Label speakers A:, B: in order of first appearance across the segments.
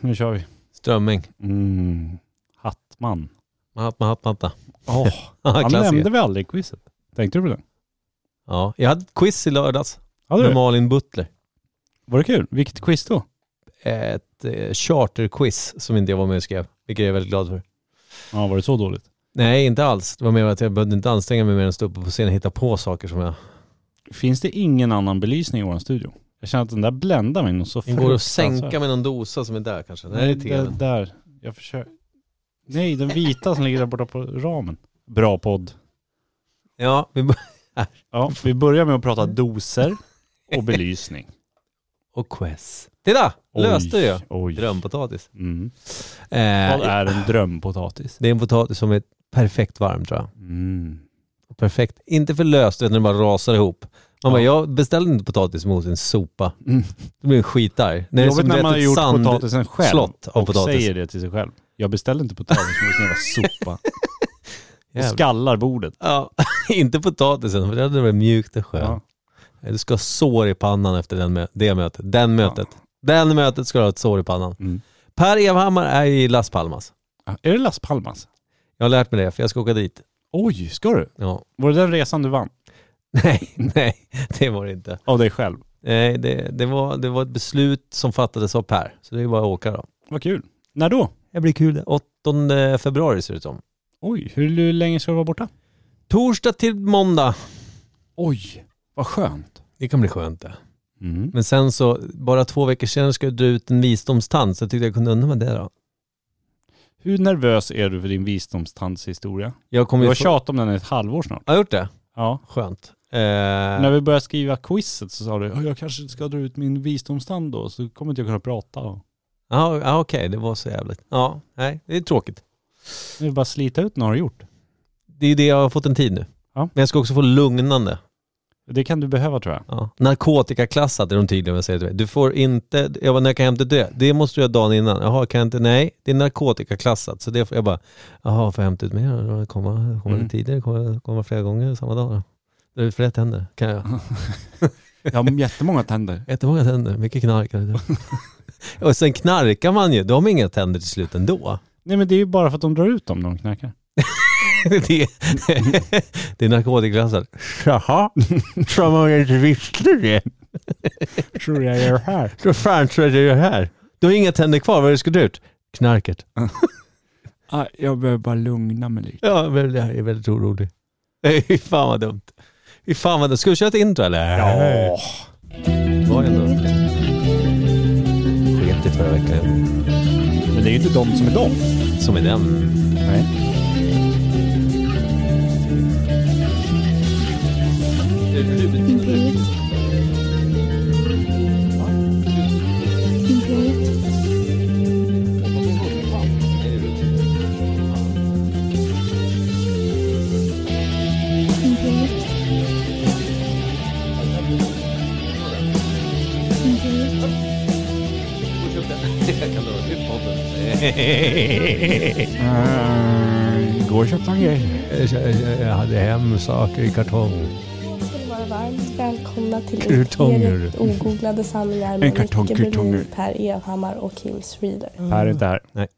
A: Nu kör vi.
B: Strömming.
A: Mm. Hattman.
B: Mahatma Hatmatta.
A: Oh, han nämnde vi aldrig i quizet. Tänkte du på det?
B: Ja, jag hade ett quiz i lördags
A: Hade du
B: med
A: det?
B: Malin Butler.
A: Var det kul? Vilket quiz då?
B: Ett eh, charterquiz som inte jag var med och skrev, vilket jag är väldigt glad för.
A: Ja, var det så dåligt?
B: Nej, inte alls. Det var mer att jag behövde inte anstränga mig mer än att stå uppe på scenen och hitta på saker som jag...
A: Finns det ingen annan belysning i vår studio? Jag känner att den där bländar mig nog så
B: Det går att sänka med någon dosa som är där kanske. Nej, det är
A: det
B: tvn.
A: där. Jag försöker. Nej, den vita som ligger där borta på ramen. Bra podd.
B: Ja, vi bör-
A: Ja, vi börjar med att prata doser och belysning.
B: och quiz. Titta! Löste jag.
A: Oj.
B: Drömpotatis.
A: Mm.
B: Eh,
A: Vad är en drömpotatis?
B: Det är en potatis som är perfekt varm tror jag.
A: Mm.
B: Perfekt. Inte för löst, du vet när den bara rasar ihop. Man
A: Ja.
B: bara, jag beställde inte potatis mot en sopa.
A: Mm.
B: Det blir en skitarg. När det är
A: Jobbigt
B: som
A: när
B: du
A: man
B: vet
A: har
B: ett
A: gjort
B: sand-
A: potatisen själv
B: slott av
A: och
B: potatis.
A: säger det till sig själv. Jag beställde inte potatis, men jag sopa. Och
B: Jävlar.
A: skallar bordet.
B: Ja, inte potatisen, för det hade varit mjukt och skönt. Du ska ha sår i pannan efter den mö- det mötet. Den mötet. Den mötet ska du ha ett sår i pannan.
A: Mm.
B: Per Evhammar är i Las Palmas.
A: Ja. Är det Las Palmas?
B: Jag har lärt mig det, för jag ska åka dit.
A: Oj, ska du?
B: Ja.
A: Var det den resan du vann?
B: Nej, nej, det var det inte.
A: Av dig själv?
B: Nej, det, det, var, det var ett beslut som fattades av Per, så det är bara att åka då.
A: Vad kul. När då?
B: Det blir kul. 8 februari ser det ut som.
A: Oj, hur länge ska du vara borta?
B: Torsdag till måndag.
A: Oj, vad skönt.
B: Det kan bli skönt det.
A: Mm.
B: Men sen så, bara två veckor senare ska jag dra ut en visdomstand så jag tyckte jag kunde undra mig det då.
A: Hur nervös är du för din visdomstandshistoria?
B: Jag kommer
A: Du
B: ju
A: har
B: få...
A: tjatat om den i ett halvår snart.
B: Jag har gjort det.
A: Ja.
B: Skönt. Eh,
A: När vi började skriva quizet så sa du, "Ja, jag kanske ska dra ut min visdomstand då, så kommer inte jag kunna prata.
B: Ja, ja, okej, det var så jävligt. Ja, nej, det är tråkigt.
A: Nu är det bara att slita ut när du har gjort.
B: Det är ju det jag har fått en tid nu.
A: Ja.
B: Men jag ska också få lugnande.
A: Det kan du behöva tror jag.
B: Ja. Narkotikaklassat är de tydliga med att säga till mig. Du får inte, jag bara, när kan jag hämta det? Det måste du göra dagen innan. Jaha, kan jag inte? Nej, det är narkotikaklassat. Så det får jag bara, jaha, får jag hämta ut mer? Komma, komma
A: Mm.
B: lite tidigare, komma, komma flera gånger samma dag då? Det är flera tänder, kan jag?
A: Jag har jättemånga tänder.
B: Jättemånga tänder, mycket knark. Och sen knarkar man ju, då har man inga tänder till slut ändå.
A: Nej men det är ju bara för att de drar ut dem när de knarkar.
B: Det, det är narkotikaklassat. Jaha, som om jag inte visste det.
A: Tror jag gör här.
B: Vad fan tror du jag gör här? Du har inga tänder kvar, vad är det du ska dra ut? Knarket.
A: Ah, jag behöver bara lugna mig lite.
B: Ja, men jag är väldigt orolig. Nej, Fy fan vad dumt. Fy fan vad dumt. Ska vi köra ett intro eller?
A: Ja.
B: Det var ju ändå... Sket i förra veckan.
A: Men det är ju inte de som är de.
B: Som är den.
A: Nej.
C: Imperiet. Imperiet. Imperiet. Imperiet.
A: Igår köpte han grejer.
B: Jag hade hem saker i kartong.
D: ska ni vara varmt välkomna till
B: Krutonger.
D: Imperiet ogooglade sanningar med
A: kartong
D: Micke
A: krutonger.
D: Berlin, Per Evhammar och Kim Schreeder.
A: Per är inte här.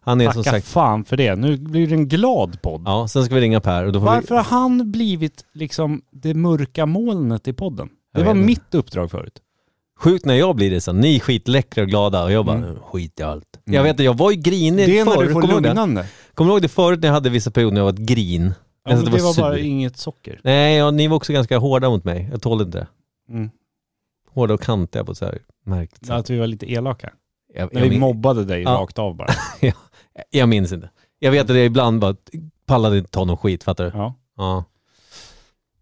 B: Han är som
A: Tacka
B: sagt...
A: fan för det. Nu blir det en glad podd.
B: Ja, sen ska vi ringa Per och då får
A: Varför
B: vi...
A: har han blivit liksom det mörka molnet i podden?
B: Jag
A: Det var
B: vet inte.
A: mitt uppdrag förut.
B: Sjukt när jag blir det sen. Ni är skitläckra och glada och jag bara
A: Mm.
B: skit i allt.
A: Mm.
B: Jag vet att jag var ju grinig
A: Det är
B: förr.
A: när du får
B: Kommer du ihåg det?
A: lugnande.
B: Kommer du ihåg det förut när jag hade vissa perioder när jag var ett grin?
A: Ja, men
B: Alltså,
A: det
B: det var
A: var bara
B: sur.
A: inget socker.
B: Nej, ja, ni var också ganska hårda mot mig. Jag tålde inte det.
A: Mm.
B: Hårda och kantiga på ett så här märkligt sätt.
A: Att vi var lite elaka.
B: Jag,
A: När
B: jag,
A: vi
B: min-
A: mobbade dig
B: Ja.
A: rakt av bara.
B: jag minns inte. Jag vet att jag ibland bara pallade inte ta någon skit, fattar du?
A: Ja.
B: Ja.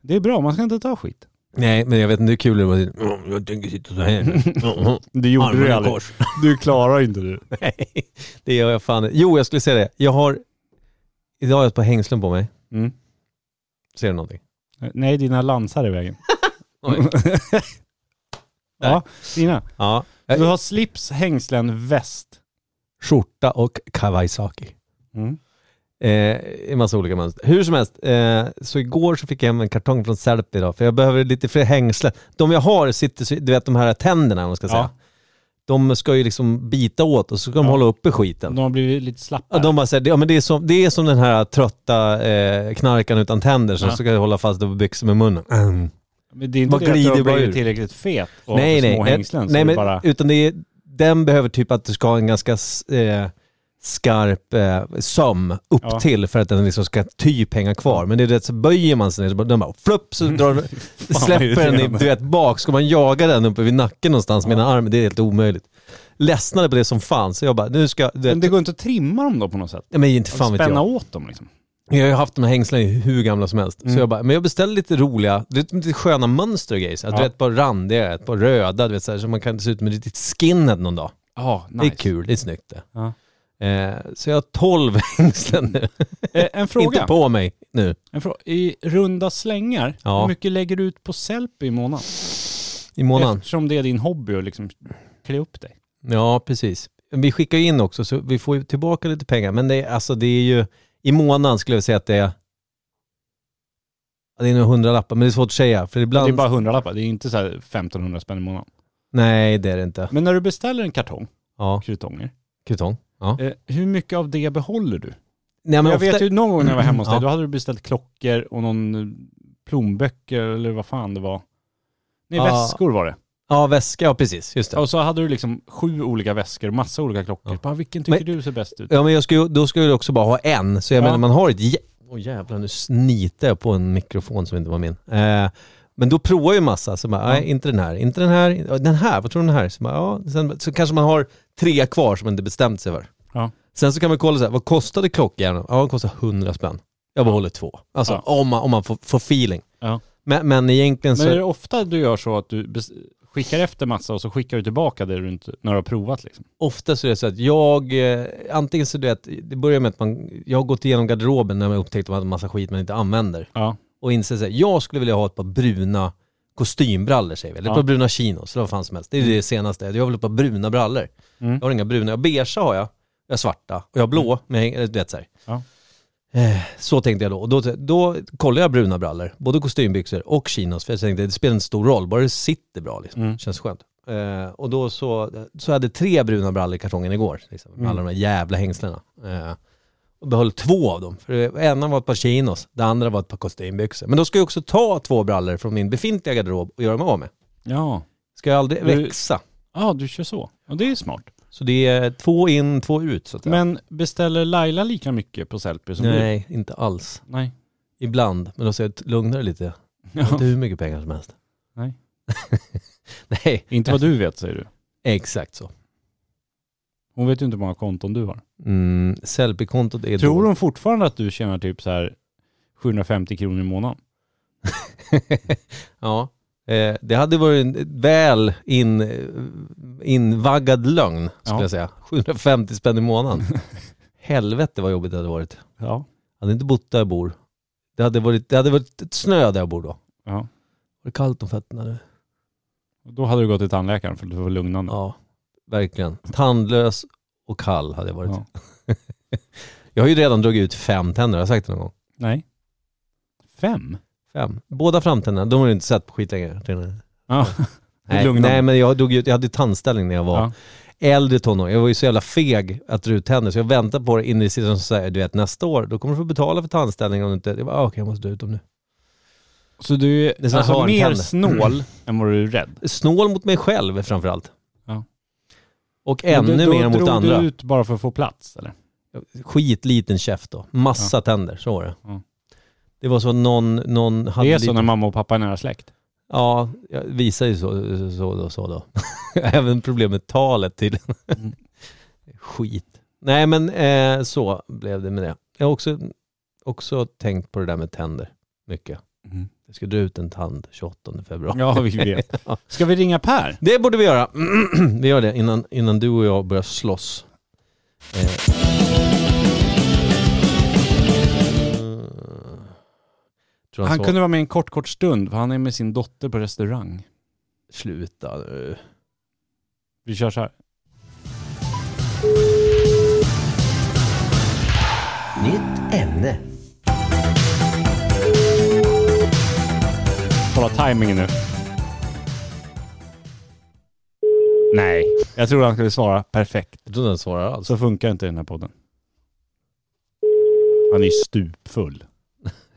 A: Det är bra, man ska inte ta skit.
B: Nej, men jag vet inte hur kul det var. Mm, Jag tänker sitta så här. Mm,
A: Det gjorde du
B: Armarna i
A: aldrig.
B: kors.
A: Du klarar inte det.
B: Nej, det gör jag fan inte. Jo, jag skulle säga det. Jag har... Idag har jag ett par hängslen på mig.
A: Mm.
B: Ser du någonting?
A: Nej, dina lansar i vägen.
B: Oj.
A: ja, dina.
B: Ja.
A: Du har slips, hängslen, väst.
B: Skjorta och kawaiisaki.
A: Mm.
B: Eh, I massa olika mönster. Hur som helst, eh, så igår så fick jag hem en kartong från Serp idag, för jag behöver lite fler hängslen. De jag har sitter, så- du vet de här tänderna om man ska
A: Ja.
B: säga. de ska ju liksom bita åt och så ska de
A: Ja.
B: hålla uppe skiten.
A: De har blivit lite slappa.
B: Ja, de bara säger, ja, men det, är som, det är som den här trötta eh, knarkaren utan tänder som
A: Ja.
B: ska hålla fast över byxor med munnen. Mm.
A: Men det är inte
B: Vad
A: det att
B: glider
A: du har
B: bara ur.
A: blivit tillräckligt fet och
B: nej,
A: har för
B: nej.
A: små
B: Eh,
A: hängslen.
B: nej,
A: så
B: men,
A: men, bara,
B: utan det är, den behöver typ att du ska ha en ganska s- eh, skarp eh, söm upp
A: Ja.
B: till för att den liksom ska typ hänga kvar. Men det är det, så böjer man sig ner så bara, den bara flupp så drar, den- släpper den i,
A: Mm. irriterande.
B: du vet, bak. Ska man jaga den uppe vid nacken någonstans med en arm, det är helt omöjligt. Ledsnade på det som fanns. Så jag bara, nu ska... Du
A: men
B: vet,
A: det går inte att trimma dem då på något sätt?
B: Nej, men inte fan vet
A: Spänna
B: jag.
A: åt dem liksom.
B: Jag har ju haft de här hängslena i hur gamla som helst.
A: Mm.
B: Så jag bara, men jag beställde lite roliga, du vet, lite sköna mönster och grejer. Så att
A: Ja.
B: Du vet, ett par randiga, ett par röda, du vet, så, här, så man kan se ut med riktigt skinhead någon dag.
A: Ja, nice.
B: Det är kul, det är snyggt det.
A: Ja.
B: Eh, så jag har 12 hängslen nu.
A: Eh, en
B: Inte
A: fråga.
B: på mig nu.
A: En frå I runda slängar,
B: Ja.
A: hur mycket lägger du ut på Sellpy i månaden?
B: I månaden.
A: Eftersom det är din hobby att liksom klä upp dig.
B: Ja, precis. Vi skickar ju in också, så vi får ju tillbaka lite pengar. Men det är, alltså, det är ju, i månaden skulle jag säga att det är, Ja, det är nog hundra lappar, men det är svårt att säga. För ibland,
A: Det är bara hundralappar, det är inte så här 1500 spänn i månaden.
B: Nej, det är det inte.
A: Men när du beställer en kartong
B: Ja,
A: krutonger,
B: krutong. Ja.
A: eh, hur mycket av det behåller du?
B: Nej, men
A: jag
B: ofta-
A: vet ju någon gång när jag var hemma hos dig,
B: Ja.
A: då hade du beställt klockor och någon eh, plånböcker eller vad fan det var. Nej,
B: Ja.
A: väskor var det.
B: Ja, väska, ja precis. Just det.
A: Och så hade du liksom sju olika väskor, massa olika klockor.
B: Ja.
A: Bara, vilken tycker
B: Men-
A: du ser bäst ut?
B: Ja, men jag ska, ju- då ska jag ju också bara ha en. Så jag
A: Ja.
B: menar, man har ett... jä- Åh jävlar, nu snitar jag på en mikrofon som inte var min. Eh, men då provar jag ju massa. Så bara, nej, inte den här, inte den här, ja, den här, vad tror du den här? Så, bara, ja. Sen, så kanske man har tre kvar som man inte bestämt sig för.
A: Ja.
B: Sen så kan man kolla så här, vad kostade klockan? Ja, den kostar 100 spänn. Jag behåller två. Alltså
A: Ja.
B: om man, om man får, får feeling.
A: Ja.
B: Men, men egentligen så...
A: Men är det ofta du gör så att du bes- skickar efter massa och så skickar du tillbaka det du inte, när du har provat liksom?
B: Ofta så är det så att jag, eh, antingen så du vet, det börjar med att man, jag har gått igenom garderoben när man upptäckte att man hade massa skit man inte använder.
A: Ja.
B: Och inser såhär, jag skulle vilja ha ett par bruna kostymbrallor säger vi, eller ett
A: Ja.
B: par bruna chinos eller vad fan som helst. Det är det senaste, jag vill ha ett par bruna brallor.
A: Mm.
B: Jag har inga bruna, jag har beige har jag, jag har svarta och jag har blå, men jag, eller du vet såhär.
A: Ja.
B: Eh, Så tänkte jag då. Och då, då kollade jag bruna brallor, både kostymbyxor och chinos. För jag tänkte det spelar inte stor roll, bara det sitter bra liksom.
A: Mm.
B: Känns skönt. Eh, och då så, så hade jag tre bruna brallor i kartongen igår. Liksom, med
A: Mm.
B: alla de här jävla hängslena. Eh, och behöll två av dem. För det ena var ett par chinos, det andra var ett par kostymbyxor. Men då ska jag också ta två brallor från min befintliga garderob och göra dem av med.
A: Ja.
B: Ska jag aldrig
A: Du-
B: växa.
A: Ja, du kör så. Ja, det är smart.
B: Så det är två in, två ut så att säga.
A: Men beställer Laila lika mycket på Sellpy som du?
B: Nej, inte alls.
A: Nej.
B: Ibland, men då säger jag lugna dig lite.
A: Ja.
B: Inte hur mycket pengar som helst.
A: Nej.
B: Nej,
A: Inte vad du vet säger du.
B: exakt så.
A: Hon vet ju inte hur många konton du har.
B: Mm, Sellpy-kontot är
A: Tror
B: dåligt.
A: hon fortfarande att du tjänar typ så här 750 kronor i månaden?
B: ja. Eh, det hade varit en väl in, eh, invaggad lögn, skulle
A: Ja.
B: jag säga. 750 spänn i månaden. Helvete vad jobbigt det hade varit.
A: Ja.
B: Jag hade inte bott där jag bor. Det hade varit, det hade varit ett snö där jag bor då. Var
A: ja.
B: det kallt om fötterna
A: Mm.
B: nu?
A: Då hade du gått till tandläkaren för att få lugnande.
B: Ja, verkligen. Tandlös och kall hade jag varit.
A: Ja.
B: Jag har ju redan dragit ut fem tänder, har jag sagt det någon gång?
A: Nej. Fem?
B: Fem. Båda framtänderna, de har du inte sett på skitlänge.
A: Ja.
B: Nej,
A: Lugnande.
B: nej men jag, drog ut, jag hade tandställning när jag var
A: Ja.
B: äldre tonåring. Jag var ju så jävla feg att dra ut tänder så jag väntade på det in i sidan som säger du vet nästa år, då kommer du få betala för tandställning om du inte... Jag bara, ah, okej jag måste dra ut dem nu.
A: Så du
B: Det är
A: är
B: som
A: alltså mer
B: hartänder.
A: snål än vad du är rädd?
B: Snål mot mig själv framförallt.
A: Ja.
B: Och
A: Men
B: ännu
A: du, då
B: mer mot
A: drog
B: andra.
A: du ut bara för att få plats eller?
B: Skitliten käft då. Massa tänder, så var det.
A: Ja.
B: Det var så att någon, någon hade...
A: Det är så
B: lite-
A: när mamma och pappa är nära släkt.
B: Ja, jag visar ju så, så, så då. Så då. Även problem med talet tydligen.
A: Mm.
B: Skit. Nej men eh, så blev det med det. Jag har också, också tänkt på det där med tänder mycket. Jag ska dra ut en tand 28 februari.
A: Ja, vi vet. Ska vi ringa Per?
B: Det borde vi göra. vi gör det innan, innan du och jag börjar slåss. Eh. Mm. Tror
A: Han
B: så-
A: kunde vara med en kort, kort stund för han är med sin dotter på restaurang.
B: Sluta nu.
A: Vi kör så här.
E: Nytt ämne.
A: Kolla timingen nu. Nej. Jag tror han skulle svara perfekt.
B: Jag tror inte den svarar alls.
A: Alltså, Så funkar inte den här podden. Han är stupfull.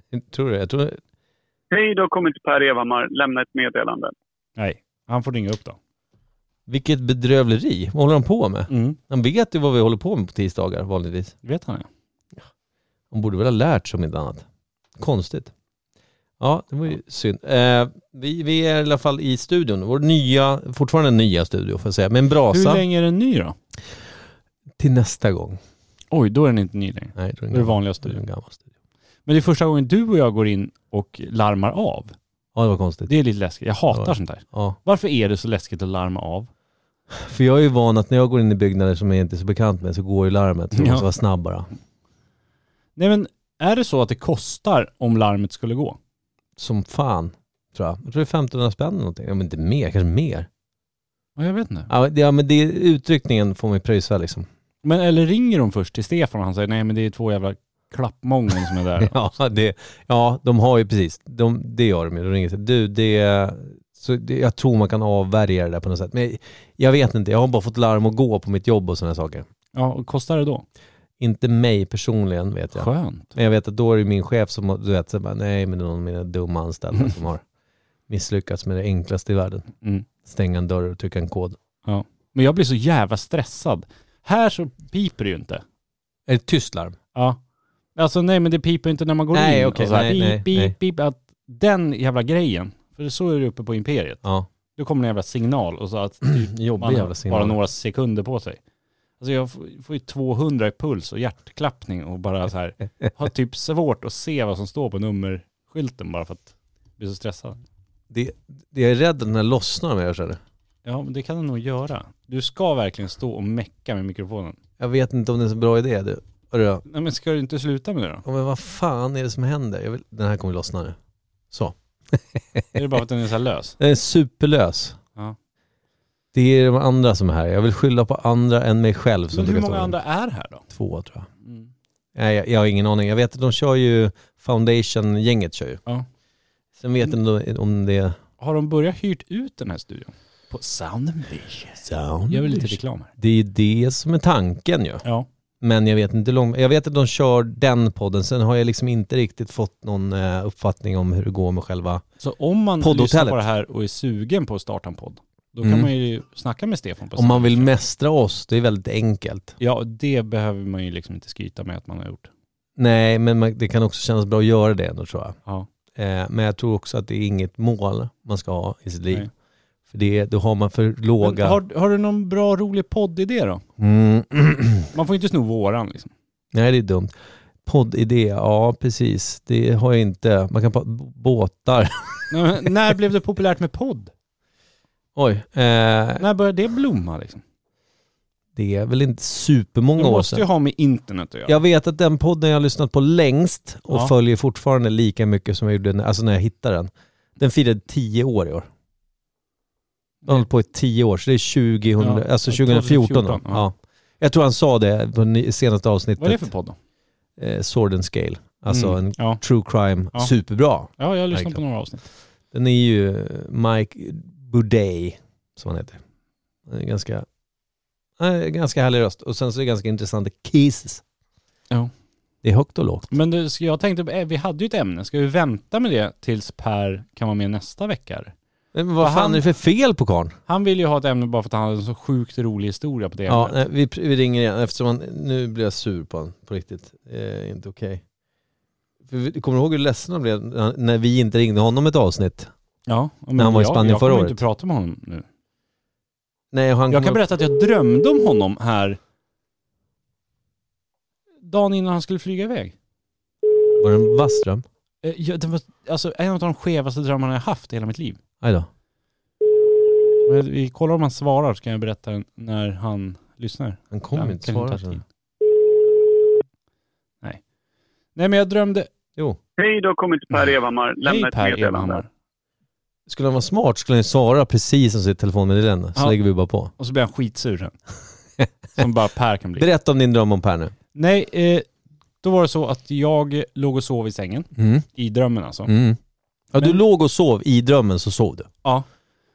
B: Jag tror det. Jag tror det.
F: Hej, då kommer inte Per Evhammar. Lämna ett meddelande.
A: Nej, han får ringa upp då.
B: Vilket bedrövleri. Vad håller han på med?
A: Mm.
B: Han vet ju vad vi håller på med på tisdagar vanligtvis.
A: Vet han det?
B: Han borde väl ha lärt sig om inte annat. Konstigt. Ja, det var ju synd. Eh, vi, vi är i alla fall i studion. Vår nya, fortfarande nya studio får jag säga, men brasa
A: Hur länge är den ny då?
B: till nästa gång.
A: Oj, då är den inte ny längre.
B: Nej, det
A: Det är
B: är en
A: den
B: gammal,
A: vanliga
B: det är
A: studion.
B: en gammal studio.
A: Men det är första gången du och jag går in och larmar av.
B: Ja, det var konstigt.
A: Det är lite läskigt. Jag hatar
B: Ja.
A: sånt där.
B: Ja,
A: Varför är det så läskigt att larma av?
B: för jag är ju van att när jag går in i byggnader som jag inte är så bekant med så går ju larmet. Så jag
A: Ja.
B: måste vara snabb bara.
A: Nej men, är det så att det kostar om larmet skulle gå?
B: Som fan, tror jag. Jag tror det är 1500 spänn eller någonting. Ja, men inte mer, kanske mer.
A: Ja, jag vet inte.
B: Ja, men det- Ja, men det är utryckningen får mig pröjsa liksom.
A: Men eller ringer de först till Stefan och han säger nej men det är två jävla klappmången som är där.
B: Ja, det, ja, de har ju precis, de, det gör de ju. De ringer sig. Du, det, så det, jag tror man kan avvärja det där på något sätt. Men jag vet inte, jag har bara fått larm att gå på mitt jobb och sådana saker.
A: Ja, och kostar det då?
B: Inte mig personligen vet jag.
A: Skönt.
B: Men jag vet att då är det min chef som, har- du vet, så bara, nej men det är någon av mina dumma anställda som har misslyckats med det enklaste i världen.
A: Mm.
B: Stänga en dörr och trycka en kod.
A: Men jag blir så jävla stressad. Här så piper det ju inte.
B: Är det tyst larm?
A: Ja. Alltså nej men det piper inte när man går
B: Nej,
A: in.
B: okej,
A: Och så här,
B: nej, nej,
A: pip, pip,
B: nej.
A: pip. Att den jävla grejen. För så är det uppe på Imperiet.
B: Ja,
A: Då kommer en jävla signal och så att typ man
B: jobbig jävla
A: har bara
B: signal.
A: några sekunder på sig. Alltså jag får får ju 200 i puls och hjärtklappning och bara så här har typ svårt att se vad som står på nummerskylten bara för att jag blir så stressad.
B: Det, det jag är rädd att den här lossnar om jag gör så här.
A: Ja, men det kan den nog göra. Du ska verkligen stå och mecka med mikrofonen.
B: Jag vet inte om det är en så bra idé du. Hörru,
A: Nej, men ska du inte sluta med det då?
B: Ja, men vad fan är det som händer? Jag vill... Den här kommer lossna nu. Så.
A: Är det bara för att den är så här lös?
B: Den är superlös.
A: Ja.
B: Det är de andra som är här. Jag vill skylla på andra än mig själv. Som
A: Men hur
B: lyckas
A: många
B: ta den.
A: andra är här då?
B: Två tror jag.
A: Mm.
B: Nej, jag, jag har ingen aning. Jag vet att de kör ju, Foundation-gänget kör ju.
A: Ja.
B: Sen vet jag inte om det är...
A: Har de börjat hyrt ut den här studion? På Sound and Vision.
B: Sound.
A: Gör vi lite reklam här?
B: Det är det som är tanken ju.
A: Ja.
B: Men jag vet inte hur lång... Jag vet att de kör den podden. Sen har jag liksom inte riktigt fått någon eh, uppfattning om hur det går med själva...
A: Så om man
B: Poddhotellet.
A: lyssnar på det här och är sugen på att starta en podd, då kan
B: Mm.
A: man ju snacka med Stefan på
B: Om man
A: Sound.
B: vill mästra oss, det är väldigt enkelt.
A: Ja, det behöver man ju liksom inte skryta med att man har gjort.
B: Nej, men man, det kan också kännas bra att göra det ändå tror jag.
A: Ja.
B: Eh, men jag tror också att det är inget mål man ska ha i sitt liv.
A: Nej.
B: För det, då har man för
A: Men
B: låga...
A: har, har du någon bra rolig poddidé då?
B: Mm.
A: Man får ju inte sno våran liksom.
B: Nej, det är dumt. Poddidé, ja precis. Det har jag inte. Man kan på båtar.
A: Nej, men när blev det populärt med podd?
B: Oj, eh,
A: När började det blomma liksom?
B: det är väl inte
A: Det
B: supermånga år
A: måste ju
B: sedan.
A: ha med internet att göra.
B: Jag vet att den podden jag har lyssnat på längst och
A: Ja.
B: följer fortfarande lika mycket som jag gjorde när, alltså när jag hittade den. Den firade tio år i år. Den har hållit på i tio år, så det är 2000,
A: Ja,
B: alltså 2014.
A: 2014,
B: då.
A: ja.
B: ja. Jag tror han sa det på ny- senaste avsnittet.
A: Vad är det för podd då?
B: Eh, Sword and Scale. typ. Alltså
A: Mm.
B: en
A: ja.
B: true crime,
A: Ja.
B: superbra.
A: ja, jag har lyssnat på
B: Verkligen.
A: några avsnitt.
B: Den är ju eh, Mike Boudet, som han heter. Han är ganska, han är ganska härlig röst. Och sen så är det ganska intressanta cases.
A: Ja.
B: Det är högt och lågt.
A: Men det, så jag tänkte, eh, vi hade ju ett ämne, ska vi vänta med det tills Per kan vara med nästa vecka? eller?
B: Men vad
A: Vad
B: fan
A: han-
B: är det för fel på karln?
A: Han vill ju ha ett ämne bara för att han hade en så sjukt rolig historia på det
B: Ja, eh,
A: ämnet.
B: nej, vi, vi ringer igen eftersom han, nu blir jag sur på honom på riktigt. Eh, inte okej. För vi- Kommer du ihåg hur ledsen han blev när- när vi inte ringde honom ett avsnitt?
A: Ja, men
B: han var i
A: jag,
B: Spanien
A: jag
B: förra
A: kommer
B: året.
A: inte prata med honom nu.
B: Nej, och han
A: Jag
B: kom
A: kan
B: upp-
A: berätta att jag drömde om honom här dagen innan han skulle flyga iväg.
B: Var det en vass dröm?
A: Eh, Jag, det var alltså, en av de skevaste drömmarna jag haft i hela mitt liv.
B: Aj då.
A: Men Vi kollar om han svarar så kan jag berätta den när han lyssnar.
B: Han kommer
A: Han
B: inte
A: kan
B: svara.
A: ta
B: sen.
A: tid. Nej. Nej men jag drömde...
B: Jo.
F: Hej, då kommer inte Per Evhammar. Lämna
A: Hej
F: ett
A: Per
F: meddelande.
A: Evhammar.
B: Skulle han vara smart skulle han ju svara precis som sitt telefonmeddelande. Så
A: Ja.
B: lägger vi bara på.
A: Och så blir han skitsur sen. Som bara Per kan bli.
B: Berätta om din dröm om Per nu.
A: Nej, eh, då var det så att jag låg och sov i sängen.
B: Mm.
A: I drömmen alltså.
B: Mm. Ja, du
A: Men-
B: låg och sov i drömmen så sov du.
A: Ja.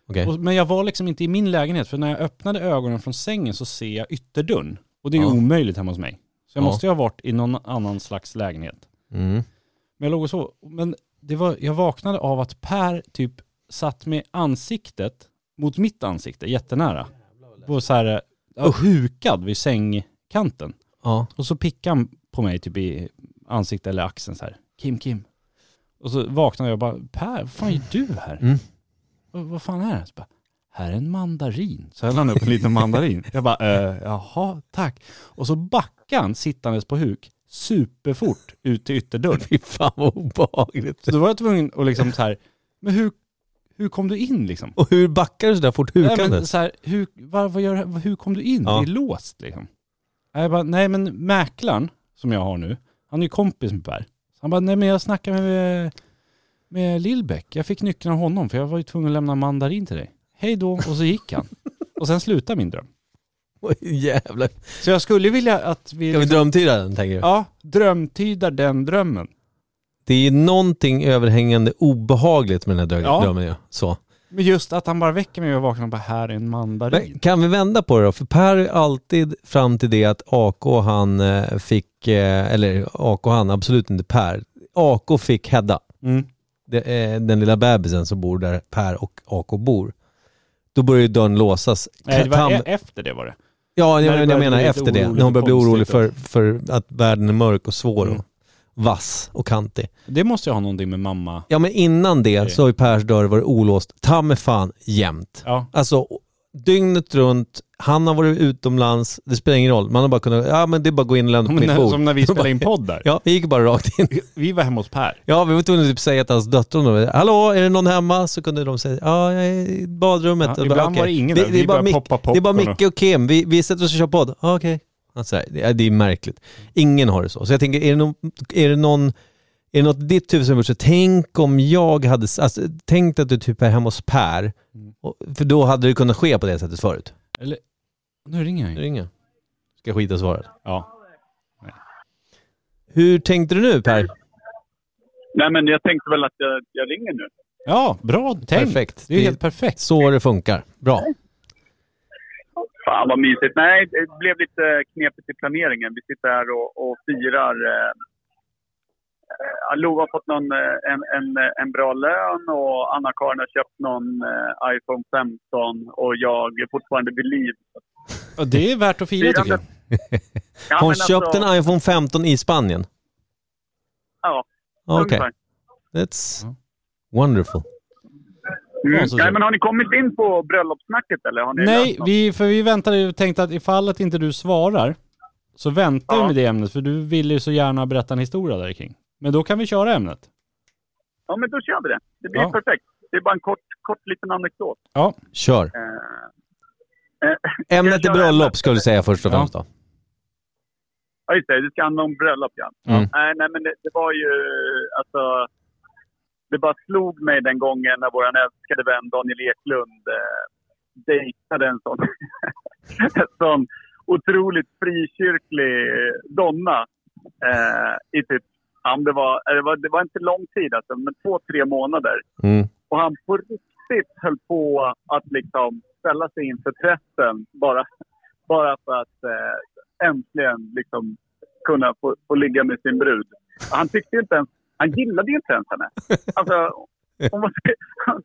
B: Okej.
A: Och, men jag var liksom inte i min lägenhet för när jag öppnade ögonen från sängen så ser jag ytterdörren. Och det är ju
B: Ja.
A: omöjligt hemma hos mig. Så jag
B: Ja.
A: måste ju ha varit i någon annan slags lägenhet.
B: Mm.
A: Men jag låg och sov. Men det var, jag vaknade av att Per typ satt med ansiktet mot mitt ansikte, jättenära. På så här, ja, hukad vid sängkanten.
B: Ja.
A: Och så pickade han på mig typ i ansiktet eller axeln så här. Kim, Kim. Och så vaknade jag och bara, Per, vad fan gör du här?
B: Mm.
A: Vad, vad fan är det? Så bara, här är en mandarin. Så höll han upp en liten mandarin. Jag bara, eh, jaha, tack. Och så backade han sittandes på huk superfort ut till ytterdörren.
B: Fy fan vad obehagligt.
A: Så då var jag tvungen att liksom så här, men hur, hur kom du in liksom?
B: Och hur backar du sådär fort
A: Nej, men
B: hukandes?
A: så här, hur, var, vad gör, hur kom du in?
B: Ja.
A: Det är låst liksom. Nej, Jag bara, nej men mäklaren som jag har nu, han är ju kompis med Per. Så Han bara, nej men jag snackade med, med Lillbäck, jag fick nyckeln av honom för jag var ju tvungen att lämna mandarin till dig. Hej då, och så gick han. Och sen slutade min dröm.
B: Oj, Jävlar.
A: Så jag skulle vilja att vi, liksom,
B: Ska vi drömtyda den tänker du?
A: ja, drömtydar den drömmen.
B: Det är någonting överhängande obehagligt med den här drö-
A: Ja.
B: drömmen. Ja. Så.
A: Men just att han bara väcker mig och jag vaknar och bara, här är en mandarin.
B: Men kan vi vända på det då? För Per är alltid fram till det att AK han eh, fick, eh, eller AK han, absolut inte Per. AK fick Hedda,
A: Mm.
B: det, eh, den lilla bebisen som bor där Per och AK bor. Då börjar ju dörren låsas.
A: Nej, det var
B: Tam-
A: e- efter det var det.
B: Ja,
A: När
B: jag,
A: du
B: jag
A: börjar bli
B: menar
A: lite
B: efter det.
A: orolig
B: När hon
A: för
B: börjar bli orolig för,
A: konstigt
B: för att världen är mörk och svår
A: Mm.
B: och vass och kantig.
A: Det måste ju ha någonting med mamma.
B: Ja, men innan det
A: Okej.
B: så har ju Pers dörr varit olåst ta mig fan jämt.
A: Ja.
B: Alltså dygnet runt, han har varit utomlands, det spelar ingen roll. Man har bara kunnat, ja men det är bara att gå in och lämna på
A: Men
B: mitt
A: när,
B: bord.
A: som när vi spelade in podd där.
B: Ja, vi gick bara rakt in.
A: Vi var hemma hos Per.
B: Ja, vi var tvungna att typ säga till hans döttrar, då, hallå är det någon hemma? Så kunde de säga, ja jag är i badrummet.
A: Ja,
B: Och
A: ibland
B: "Okej."
A: var det ingen där,
B: det,
A: vi
B: är bara
A: började
B: Mick-
A: poppa
B: det är bara
A: popcorn och-
B: Micke och Kim, vi, vi sätter oss och kör podd. Ja, Okej. Ja, så här, det, är- det är märkligt. Ingen har det så. Så jag tänker, är det, någon, är det, någon, är det något i ditt huvud som har gjort så? Tänk om jag hade, s- alltså, tänk att du typ är hemma hos Per, och, för då hade det kunnat ske på det sättet förut.
A: Eller, nu ringer han ju.
B: Ringa. Ska jag skita i svaret.
A: Ja.
B: Hur tänkte du nu Per?
F: Nej, men jag tänkte väl att jag, jag ringer nu.
A: ja, bra tänkt.
B: Perfekt.
A: Det är ju
B: Vi-
A: helt perfekt.
B: Så det funkar. Bra.
F: Fan vad mysigt. Nej, det blev lite knepigt i planeringen. Vi sitter här och, och firar. Eh, eh, Lova har fått någon, eh, en, en, eh, en bra lön och Anna-Karin har köpt någon eh, iPhone 15 och jag är fortfarande vid liv.
A: Ja, det är värt att fira tycker jag.
F: Ja,
B: Har hon
F: men alltså,
B: köpt en iPhone 15 i Spanien? Ah,
F: Ja,
B: Okej.
F: ungefär.
B: That's
A: Ja.
B: wonderful.
F: Mm.
A: Konstigt.
F: Nej, men har ni kommit in på bröllopssnacket eller? Har ni
A: Nej,
F: löst något?
A: vi, för vi väntade ju och tänkte att ifall att inte du svarar så väntar vi
F: Ja.
A: med det ämnet för du ville ju så gärna berätta en historia där kring. Men då kan vi köra ämnet.
F: Ja, men då kör vi det. Det blir
A: Ja.
F: perfekt. Det är bara en kort, kort liten anekdot.
A: Ja,
B: Kör.
F: Eh,
B: Ämnet är
F: köra
B: bröllop
F: ämnet?
B: ska du säga först och
A: Ja.
B: främst då.
F: Ja, just det. Det ska handla om bröllop, ja.
B: Mm.
F: Nej, nej, men det, det var ju... Alltså, det bara slog mig den gången när vår älskade vän Daniel Eklund eh, dejtade en sån, en sån otroligt frikyrklig donna eh, i typ... ja, men Det var, det, var, det var inte lång tid, alltså, men två, tre månader.
B: Mm.
F: Och han på riktigt höll på att liksom ställa sig inför pressen bara, bara för att eh, äntligen liksom kunna få, få ligga med sin brud. Han tyckte ju inte ens, han gillade ju inte ens henne. Alltså, hon var,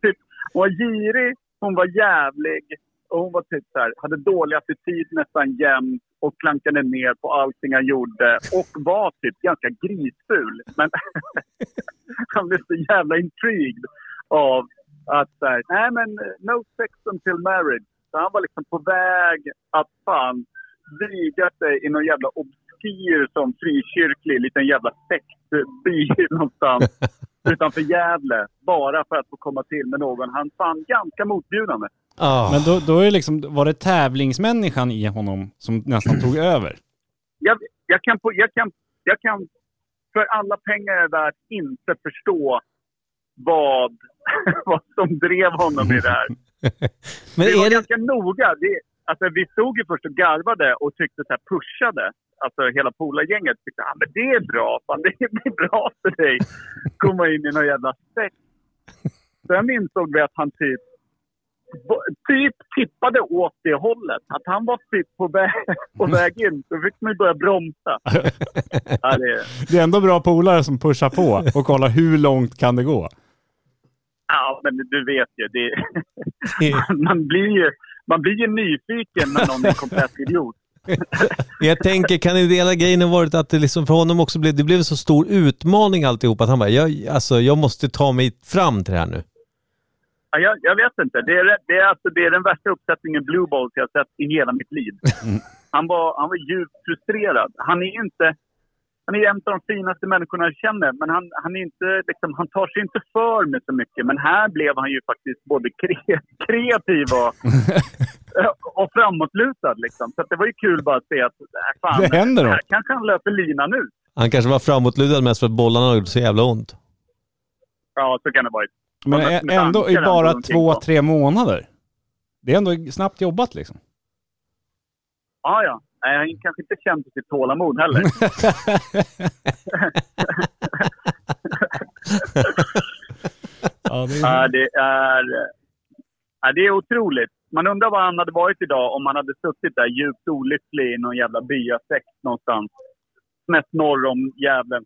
F: typ, hon var girig, hon var jävlig och hon var typ så här, hade dålig attityd nästan jämt och klankade ner på allting han gjorde och var typ ganska grisful. Men han blev så jävla intrigued av att så här, nej men no sex until marriage. Så han var liksom på väg att fan viga sig i någon jävla obskyr som frikyrklig liten jävla sektby någonstans utanför Gävle. Bara för att få komma till med någon han fann ganska motbjudande.
B: Ah.
A: men då, då är det liksom, var det tävlingsmänniskan i honom som nästan tog över?
F: jag, jag, kan, på- jag, kan, jag kan för alla pengar jag är värd inte förstå vad, vad som drev honom i det här.
B: Men
F: vi var
B: är det...
F: ganska noga. Vi, alltså, vi stod ju först och garvade och tyckte så här pushade. Alltså hela polargänget tyckte ah, men det är bra, fan, det blir bra för dig. Komma in i någon jävla sex. Sen insåg vi att han typ b- typ tippade åt det hållet. Att han var typ på väg, på väg in. Då fick man ju börja bromsa. ja, det,
A: Det är ändå bra polare som pushar på och kollar hur långt kan det gå.
F: ja, men du vet ju. Det, man, blir ju man blir ju nyfiken när någon är en komplett idiot.
B: Jag tänker, kan inte hela grejen varit att det liksom för honom också blev, det blev en så stor utmaning alltihop att han bara, jag, alltså, jag måste ta mig fram till det här nu.
F: Ja, jag, jag vet inte. Det är, det, är alltså, det är den värsta uppsättningen Blue Balls jag har sett i hela mitt liv. Han var, han var djupt frustrerad. Han är inte... Han är en av de finaste människorna jag känner, men han, han, är inte, liksom, han tar sig inte för med så mycket. Men här blev han ju faktiskt både kre, kreativ och, och framåtlutad. Liksom. Så att det var ju kul bara att se att äh, fan,
A: Det händer
F: här
A: något.
F: kanske han löper linan ut.
B: Han kanske var framåtlutad mest för att bollarna har gjort så jävla ont.
F: Ja, så kan det vara.
A: Men
F: Ja,
A: ä-
F: men
A: ändå i
F: tankar
A: bara
F: ändå
A: två,
F: omkring
A: tre månader. Det är ändå snabbt jobbat liksom.
F: Ja, ja. Nej, han kanske inte kände sitt tålamod heller.
A: Ja, det
F: Ja, det är, ja, det är otroligt. Man undrar var han hade varit idag om han hade suttit där djupt olycklig i någon jävla byasäck någonstans. Snett norr om Gävle.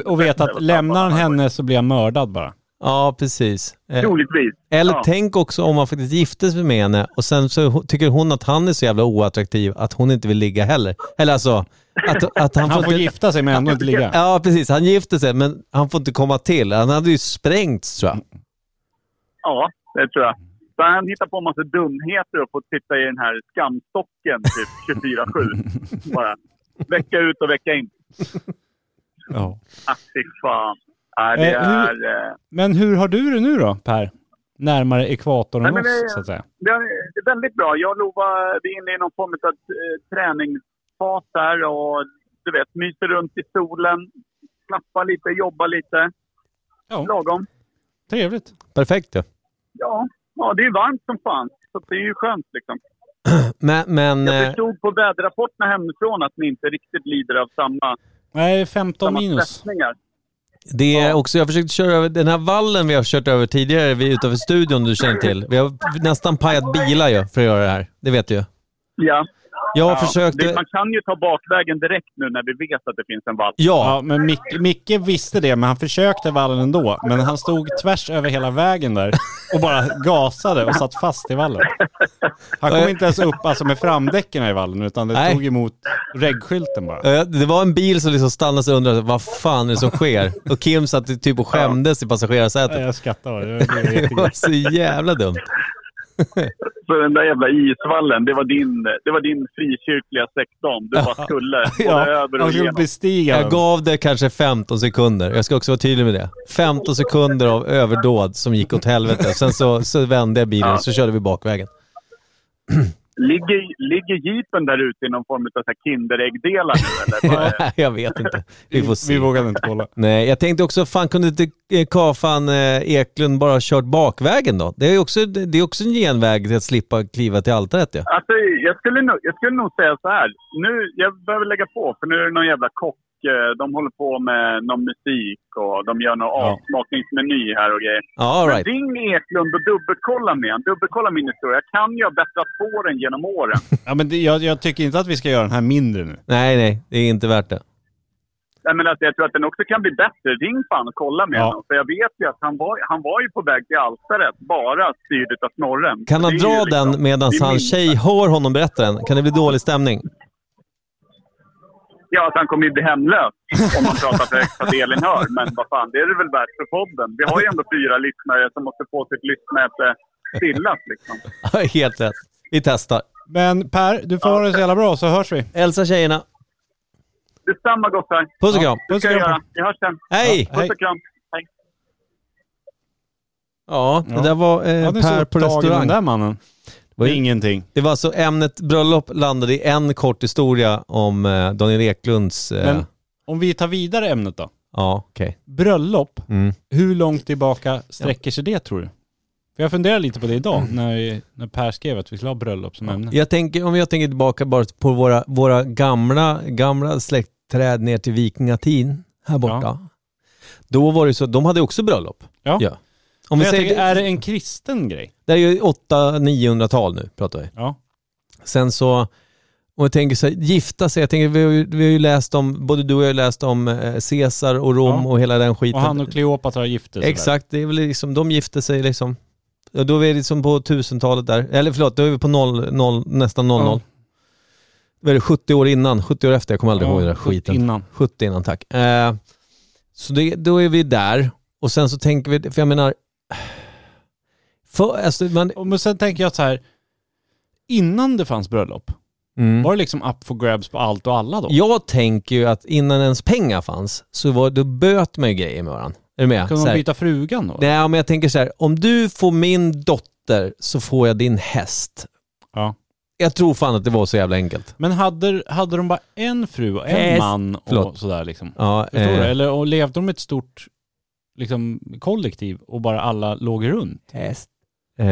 A: Och, och vet att lämnar han henne så blir jag mördad bara.
B: Ja, precis. Eh,
F: Troligtvis.
B: Eller
F: ja.
B: tänk också om han faktiskt gifte sig med henne och sen så ho- tycker hon att han är så jävla oattraktiv att hon inte vill ligga heller. Eller alltså, att, att han,
A: Han får
B: inte...
A: gifta sig men ändå inte ligga.
B: Ja, precis. Han gifte sig men han får inte komma till. Han hade ju sprängts tror jag.
F: Ja, det tror jag. Så han hittar på en massa dumheter och får sitta i den här skamstocken typ 24-7. Bara vecka ut och vecka in.
A: Ja.
F: Ah, fy fan. Ja, det
A: Eh, hur-
F: är... eh,
A: Men hur har du det nu då Per? Närmare ekvatorn
F: Nej,
A: än
F: men
A: oss
F: det-
A: så att säga.
F: Det är väldigt bra. Jag och Lova, vi är inne i någon form av eh, träningsfas här och du vet, myser runt i solen, klappar lite, jobbar lite.
A: Ja.
F: Lagom.
A: Trevligt.
B: Perfekt ju.
F: Ja. ja, det är varmt som fan. Så det är ju skönt liksom.
B: Men, men
F: Jag
B: eh,
F: förstod på väderrapporterna hemifrån att ni inte riktigt lider av samma,
A: Nej, det är 15
F: samma
A: minus.
F: stressningar.
B: det är också, jag försökte köra över, den här vallen vi har kört över tidigare vi, utanför studion du känner till. Vi har nästan pajat bilar ju för att göra det här. Det vet du ju.
F: Ja.
B: Jag
F: Ja.
B: försökte...
F: Det, man kan ju ta bakvägen direkt nu när vi vet att det finns en vall.
B: Ja,
A: Ja, men Mic- Micke visste det, men han försökte vallen ändå. Men han stod tvärs över hela vägen där och bara gasade och satt fast i vallen. Han kom inte ens upp alltså, med framdäcken i vallen, utan det
B: Nej.
A: tog emot reggskylten bara.
B: Eh, Det var en bil som liksom stannade sig och undrade vad fan är det som sker? Och Kim satt typ och skämdes i
A: Nej,
B: passagerarsätet.
A: Jag skrattar bara. Det var
B: Det
A: jättekul.
B: var så jävla dumt.
F: Så den där jävla isvallen, det var din, det var din frikyrkliga sektorn. Du bara skulle både
A: Ja, Alltså,
F: över och
A: han skulle
F: igenom.
A: bestiga
F: Ehm.
B: Jag
A: den.
B: gav det kanske 15 sekunder. Jag ska också vara tydlig med det. 15 sekunder av överdåd som gick åt helvete. Sen så, så vände jag bilen och så körde vi bakvägen.
F: Ligger, ligger jeepen där ute i någon form av så här Kinderäggdelar nu eller? Vad är-
B: jag vet inte. Vi får
A: Vi
B: se.
A: vågade inte kolla.
B: Nej, jag tänkte också, fan kunde inte eh, Kafan eh, Eklund bara ha kört bakvägen då? Det är ju också, det är också en genväg till att slippa kliva till altaret ju.
F: Alltså, jag, skulle nog, jag skulle nog säga så här. Nu, jag behöver lägga på för nu är det någon jävla kock. eh, De håller på med någon musik och de gör någon
A: Ja.
F: avsmakningsmeny här och grejer.
B: Ja, all
F: Men
B: right.
F: Ring Eklund och dubbelkolla med honom. Dubbelkolla min historia. Jag kan ju ha bättrat på den genom åren.
A: Ja, men det, jag, jag tycker inte att vi ska göra den här mindre nu.
B: Nej, nej, det är inte värt det.
F: Jag, menar, att jag tror att den också kan bli bättre. Ring fan och kolla med
A: Ja.
F: honom. För jag vet ju att han var, han var ju på väg till altaret, bara styrd av snorren.
B: Kan han
F: Det är ju
B: dra den
F: liksom-
B: medan
F: det är min-
B: hans tjej hör honom berätta den? Kan det bli dålig stämning?
F: Ja, att han kommer ju bli hemlös om man pratar för högt så att Elin hör. Men vad fan, det är det väl värt för podden. Vi har ju ändå fyra lyssnare som måste få sitt lyssnäte stillat liksom.
B: Ja, Helt rätt. Vi testar.
A: Men Per, du får ha det så jävla bra så hörs vi.
B: Hälsa tjejerna.
F: Detsamma gossar.
B: Puss och kram.
F: Det ska jag
A: kram.
F: göra. Vi hörs sen.
B: Hej!
A: Ja, hej.
F: Puss och kram. Hej.
B: Ja, det
A: Ja.
B: där var eh,
A: Ja, nu är så
B: Per på
A: upptagen den
B: restaurang.
A: där mannen.
B: Var ju-
A: Ingenting.
B: Det var alltså ämnet bröllop landade i en kort historia om eh, Daniel Eklunds... Eh,
A: Men om vi tar vidare ämnet då.
B: ja, okej.
A: Bröllop,
B: Mm.
A: hur långt tillbaka sträcker sig det tror du? För jag funderar lite på det idag när, vi, när Per skrev att vi skulle ha bröllop som ämne.
B: Jag tänker, Mm. om jag tänker tillbaka bara på våra, våra gamla, gamla släktträd ner till vikingatiden här borta. Då var det så, de hade också bröllop.
A: Ja.
B: Ja. Om
A: Men
B: vi
A: jag tänker, är
B: säger,
A: det en kristen grej?
B: det är ju 800-900-tal nu pratar vi.
A: Ja.
B: Sen så, om jag tänker så här, gifta sig, jag tänker, vi, har ju, vi har ju läst om, både du och jag har ju läst om eh, Caesar och Rom
A: Ja.
B: och hela den skiten.
A: Och han och Kleopatra gifte sig.
B: Exakt, det är väl liksom, de gifte sig liksom. Och då är vi liksom på 1000-talet där, eller förlåt, då är vi på noll, noll, nästan 00.
A: Ja.
B: Vad är det, 70 år innan, 70 år efter, jag kommer
A: där.
B: aldrig ihåg den där skiten.
A: Innan.
B: 70 innan tack. Eh, så det, då är vi där och sen så tänker vi, för jag menar, för, alltså, man,
A: Och men sen tänker jag så här, innan det fanns bröllop,
B: mm.
A: var det liksom up for grabs på allt och alla då?
B: jag tänker ju att innan ens pengar fanns så var, då böt man ju grejer med varandra. Är du med?
A: Kunde
B: Så
A: de
B: här,
A: byta frugan då?
B: Nej, men jag tänker så här, om du får min dotter så får jag din häst.
A: Ja.
B: Jag tror fan att det var så jävla enkelt.
A: Men hade, hade de bara en fru och en
B: Yes.
A: man och
B: Förlåt.
A: sådär liksom?
B: Ja,
A: Förstår
B: eh,
A: du? Eller och levde de ett stort liksom, kollektiv och bara alla låg runt?
B: eh,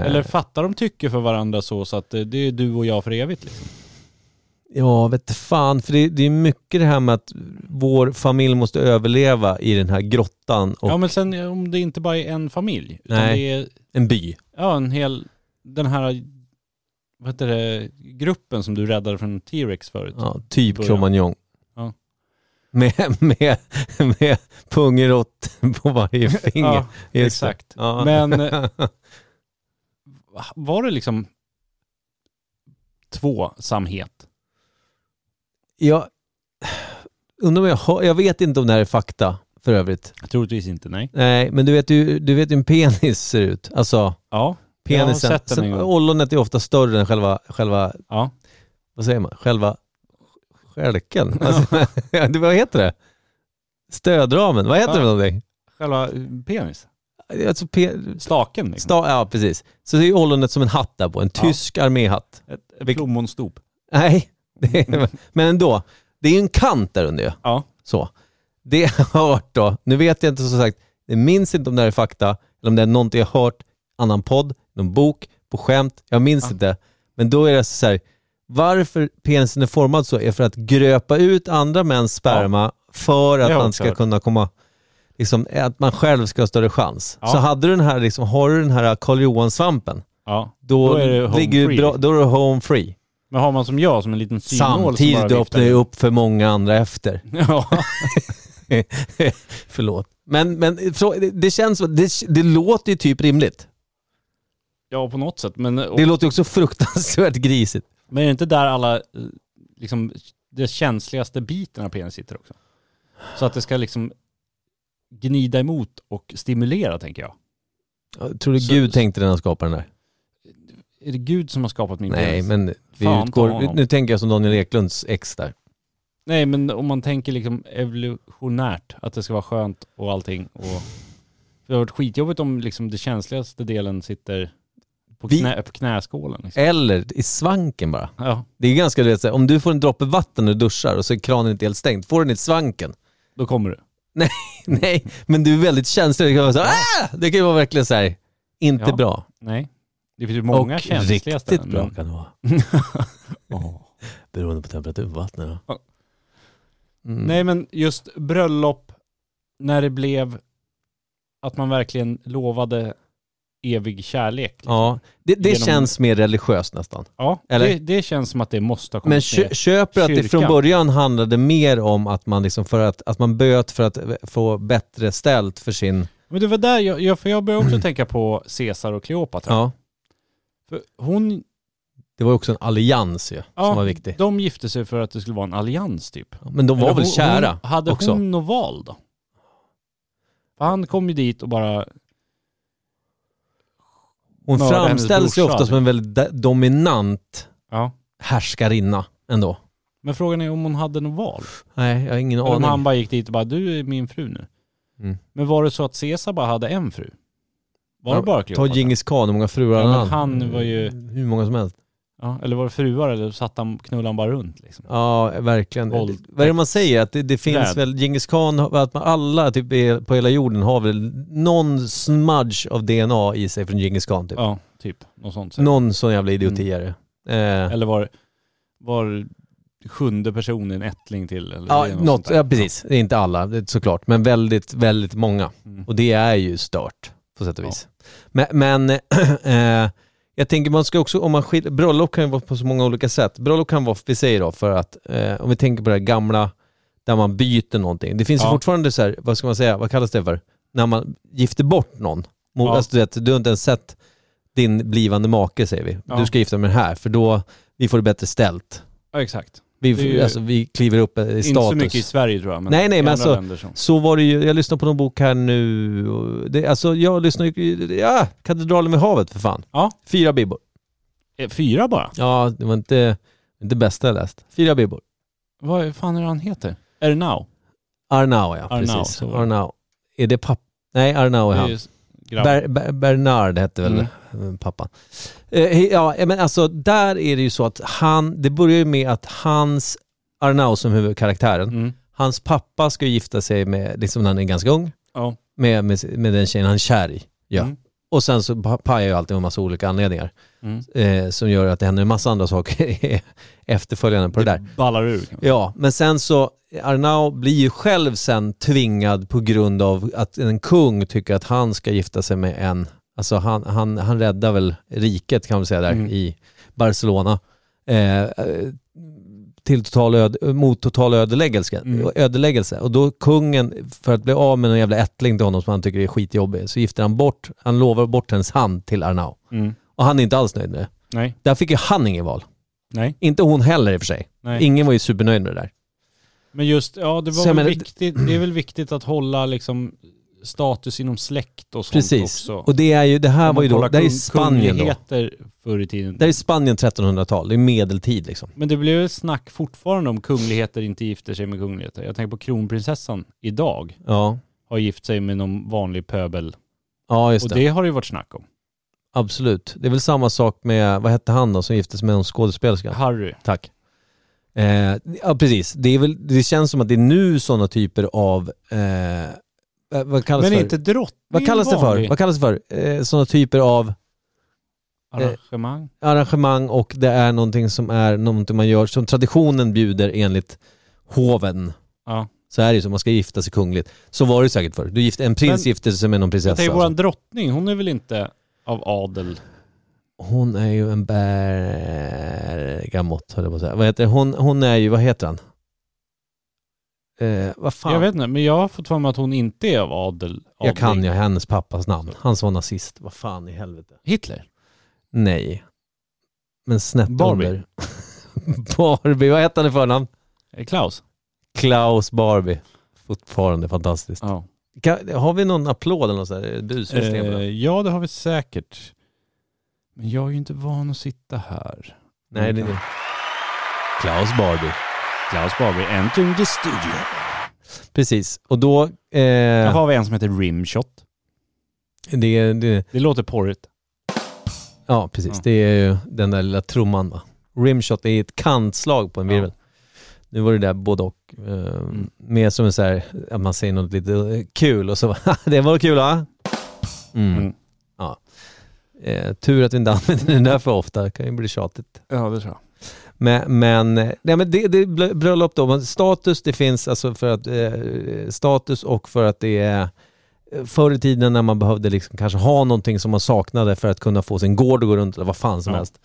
A: Eller fattar de tycke för varandra så, så att eh, det är du och jag för evigt liksom?
B: Ja, vet fan. För det, det är mycket det här med att vår familj måste överleva i den här grottan och
A: Ja men sen eh, om det inte bara är en familj, utan
B: Nej.
A: det är
B: en by.
A: ja, en hel, den här, vad heter det, gruppen som du räddade från T-Rex förut.
B: Ja, typ
A: Början.
B: Cromagnon.
A: Ja.
B: Med, med, med pungerott på varje finger.
A: Ja,
B: Just det.
A: exakt.
B: Ja.
A: Men eh, var det liksom tvåsamhet?
B: Jag undrar om jag har, jag vet inte om det här är fakta för övrigt.
A: Troligtvis inte, nej.
B: Nej, men du vet ju, du vet ju hur en penis ser ut. Alltså
A: Ja, jag har
B: penisen.
A: sett den en
B: Sen,
A: gång.
B: ollonet är ofta större än själva, själva
A: Ja.
B: vad säger man, själva stjälken. Alltså, det- vad heter det? Stödramen, vad heter
A: Ja.
B: det för någonting?
A: Själva eh, penis.
B: Alltså, pe-
A: Staken liksom.
B: sta- ja, precis. Så det är ju ollonet som en hatt där på, en tysk arméhatt.
A: Ett, ett plommonstop.
B: Nej, det
A: Mm.
B: är, men ändå. Det är ju en kant där under ju.
A: Ja.
B: Så. Det har jag hört då. Nu vet jag inte som sagt, jag minns inte om det här är fakta, eller om det är någonting jag har hört, annan podd, någon bok, på skämt, jag minns
A: Ja.
B: inte. Men då är det så här, varför penisen är formad så är för att gröpa ut andra mäns sperma för att
A: har jag
B: man
A: också
B: ska
A: hört.
B: kunna komma, liksom, att man själv ska ha större chans.
A: Ja.
B: Så hade du den här, liksom, har du den här Karl Johan-svampen,
A: ja.
B: då,
A: Då är det home
B: ligger du
A: free.
B: bra, då är du home free.
A: Men har man som jag, som en liten synål som
B: Samtidigt
A: bara
B: öppnar du upp för många andra efter.
A: Ja.
B: Förlåt. Men, men så, det, det känns, det, det låter ju typ rimligt.
A: ja, på något sätt. Men, och,
B: Det låter ju också fruktansvärt grisigt.
A: men är det inte där alla, eh, liksom, det känsligaste biten av penis sitter också? Så att det ska liksom gnida emot och stimulera, tänker jag.
B: Jag tror du
A: Så-
B: Gud tänkte när han skapade den där?
A: Är det Gud som har skapat min
B: Nej,
A: penis?
B: men vi
A: Fan ta
B: utgår,
A: honom.
B: nu tänker jag som Daniel Eklunds ex där.
A: Nej, men om man tänker liksom evolutionärt, att det ska vara skönt och allting. Och, för det har varit skitjobbigt om liksom det känsligaste delen sitter på,
B: Vi- Eh.
A: knä, på knäskålen. Liksom.
B: Eller i svanken bara.
A: Ja,
B: Det är ganska, du vet, så här, om du får en droppe vatten när du duschar och så är kranen inte helt stängd, får den i svanken.
A: då kommer du.
B: Nej, men du är väldigt känslig. Det kan vara, så, här, ah! det kan ju vara verkligen så här, inte
A: Ja.
B: bra.
A: Nej. Det finns ju många
B: och
A: känsliga
B: riktigt
A: ställen.
B: bra
A: men-
B: kan det vara. Beroende på temperatur på vattnet. då.
A: Ja.
B: Mm.
A: Nej, men just bröllop, när det blev att man verkligen lovade evig kärlek. liksom.
B: Ja, det, det
A: Genom-
B: känns mer religiöst nästan.
A: Ja,
B: Eller-
A: Det, det känns som att det måste ha kommit
B: Men kö,
A: med.
B: köper att det
A: kyrkan.
B: från början handlade mer om att man, liksom för att, att man böt för att få bättre ställt för sin...
A: Men det var där jag, jag, för jag började också tänka på Caesar och Kleopatra.
B: Mm. Ja,
A: För hon
B: det var ju också en allians ju,
A: Ja,
B: som var viktig.
A: De gifte sig för att det skulle vara en allians typ.
B: Men de var
A: Eller
B: väl
A: hon-
B: kära
A: hon, Hade
B: också?
A: hon något val då? För han kom ju dit och bara,
B: Hon
A: mördade hennes
B: framställs ju
A: brorsa, typ.
B: ofta som en väldigt da- dominant
A: ja.
B: härskarinna ändå.
A: Men frågan är om hon hade något val.
B: Nej, jag har ingen
A: Eller om han
B: aning.
A: bara gick dit och bara, du är min fru nu.
B: Mm.
A: Men var det så att Caesar bara hade en fru? Var
B: Ja,
A: det bara
B: Ta
A: Kleopatra?
B: Djingis khan, hur många fruar
A: Ja, men
B: hade?
A: han var ju-
B: Hur många som helst.
A: ja, eller var det fruar eller satt han, knullade han bara runt liksom?
B: Ja, verkligen.
A: Våld-
B: Vad är det man säger? Att det, det finns
A: Träd.
B: väl, Djingis khan, har- att man alla typ, är- på hela jorden har väl någon smudge av DNA i sig från Djingis khan typ.
A: Ja, typ. Något sånt. säkert.
B: någon sån jävla idioti är det. Eh,
A: Eller var, var sjunde personen ättling till? Eller
B: ja,
A: det är något sånt
B: något,
A: där.
B: ja, precis. Det är inte alla det är såklart, men väldigt, väldigt många.
A: Mm.
B: Och det är ju stört. på sätt och vis. Men, men eh, jag tänker man ska också, om man skiljer, bröllop kan ju vara på så många olika sätt. Bröllop kan vara, vi säger då, för att eh, om vi tänker på det här gamla, där man byter någonting. Det finns ju
A: Ja.
B: fortfarande så här, vad ska man säga, vad kallas det för? När man gifter bort någon. Mot,
A: Ja.
B: alltså, du, vet, du har inte ens sett din blivande make säger vi.
A: Ja.
B: Du ska gifta med den här för då, vi får det bättre ställt.
A: Ja, exakt. Det är
B: Vi,
A: ju-
B: alltså, vi kliver upp i status.
A: Inte så mycket i Sverige tror jag, men,
B: Nej, nej,
A: i andra
B: men alltså-
A: länder så.
B: Så var det ju, jag lyssnar på någon bok här nu, och det, alltså jag lyssnar ju, ja, Katedralen vid havet för fan.
A: Ja.
B: Fyra bibbor.
A: Eh, Fyra bara?
B: Ja, det var inte, inte bästa jag läst. Fyra bibbor.
A: Vad fan är det han heter? Är det Now?
B: Arnau ja,
A: Arnau,
B: precis.
A: så var det.
B: Arnau. Är det pappa? Nej, Arnau är
A: Det är
B: han.
A: ju s- grabb-
B: Ber, Ber, Bernard hette väl mm. pappan. Eh, ja, men alltså där är det ju så att han, det börjar ju med att hans, Arnau som huvudkaraktären,
A: Mm.
B: hans pappa ska ju gifta sig med, liksom när han är ganska ung,
A: Ja.
B: med, med, med den tjejen han är kär i. Ja.
A: Mm.
B: Och sen så pa- pajar ju allting av en massa olika anledningar
A: Mm.
B: eh, som gör att det händer en massa andra saker i efterföljande på det där.
A: ballar ur. kan man säga.
B: Ja, men sen så, Arnau blir ju själv sen tvingad på grund av att en kung tycker att han ska gifta sig med en, alltså han, han, han räddar väl riket kan man säga där
A: Mm.
B: i Barcelona. Eh, eh, till total öde, mot total ödeläggelse.
A: Mm.
B: ödeläggelse. Och då kungen, för att bli av med någon jävla ättling till honom som han tycker är skitjobbig, så gifter han bort, han lovar bort hennes hand till Arnau.
A: Mm.
B: Och han är inte alls nöjd med det.
A: Nej,
B: Där fick ju han ingen val.
A: nej,
B: Inte hon heller i och för sig.
A: nej.
B: Ingen var ju supernöjd med det där.
A: Men just, ja det
B: Så
A: var
B: jag
A: väl
B: menar-
A: viktigt, det är väl viktigt att hålla liksom status inom släkt och sånt
B: Precis.
A: också.
B: Och det är ju, det här
A: Om
B: var ju
A: man
B: då,
A: kollar
B: det här är
A: kung-
B: Spanien då.
A: kungligheter förr i tiden.
B: Det här är Spanien 1300-tal, det är medeltid liksom.
A: Men det blev ett snack fortfarande om kungligheter inte gifter sig med kungligheter. Jag tänker på kronprinsessan idag
B: Ja,
A: har gift sig med någon vanlig pöbel.
B: ja just
A: Och
B: det.
A: det har det ju varit snack om.
B: Absolut. Det är väl samma sak med, vad hette han då som gifte sig med en skådespelerska?
A: Harry.
B: Tack. Eh, ja, precis. Det, är väl, det känns som att det är nu sådana typer av, eh, eh, vad kallas
A: Men
B: det för?
A: inte drottning
B: vad kallas det för?
A: vanlig.
B: Vad kallas det för? Eh, sådana typer av eh,
A: Arrangemang.
B: arrangemang och det är någonting som är någonting man gör som traditionen bjuder enligt hoven.
A: Ja.
B: Så är det ju så, man ska gifta sig kungligt. Så var det säkert förr. Du gifte, en prins
A: Men-
B: gifte sig med någon
A: Jag
B: prinsessa.
A: tänker
B: Alltså.
A: våran drottning, hon är väl inte av adel?
B: Hon är ju en bergamott höll jag på att säga. Vad heter det? Hon, hon är ju, vad heter han? Eh, vad fan?
A: Jag vet inte, men jag har fått för mig att hon inte är av adel.
B: Jag kan
A: adling.
B: ju hennes pappas namn. Han som var nazist. Vad fan i helvete?
A: Hitler?
B: Nej. Men snett
A: Barbie.
B: under. Barbie. Vad hette han i förnamn?
A: Eh, Klaus?
B: Klaus Barbie. Fortfarande fantastiskt.
A: Ja.
B: Kan, har vi någon applåd eller något sånt här busviskning på
A: Eh,
B: den?
A: ja, det har vi säkert. Men jag är ju inte van att sitta här.
B: Nej, det är inte. Klaus Barbie.
A: Klaus Barbie, entering the studio.
B: Precis. Och då... Eh,
A: Här har vi en som heter Rimshot.
B: Det, det,
A: Det låter porrigt.
B: ja, precis.
A: Ja.
B: Det är ju den där lilla trumman va. Rimshot är ett kantslag på en virvel. Nu var det där både och. Eh,
A: Mm.
B: Mer som en så här, att man säger något lite eh, kul och så det var kul va? Mm.
A: Mm.
B: Ja. Eh, tur att vi inte använder den där för ofta, det kan ju bli tjatigt.
A: Ja, det tror jag.
B: Men, men, eh, nej, men det, det är bröllop då, men status det finns alltså för att eh, status och för att det är eh, förr i tiden när man behövde liksom kanske ha någonting som man saknade för att kunna få sin gård att gå runt eller vad fan som
A: Ja.
B: helst.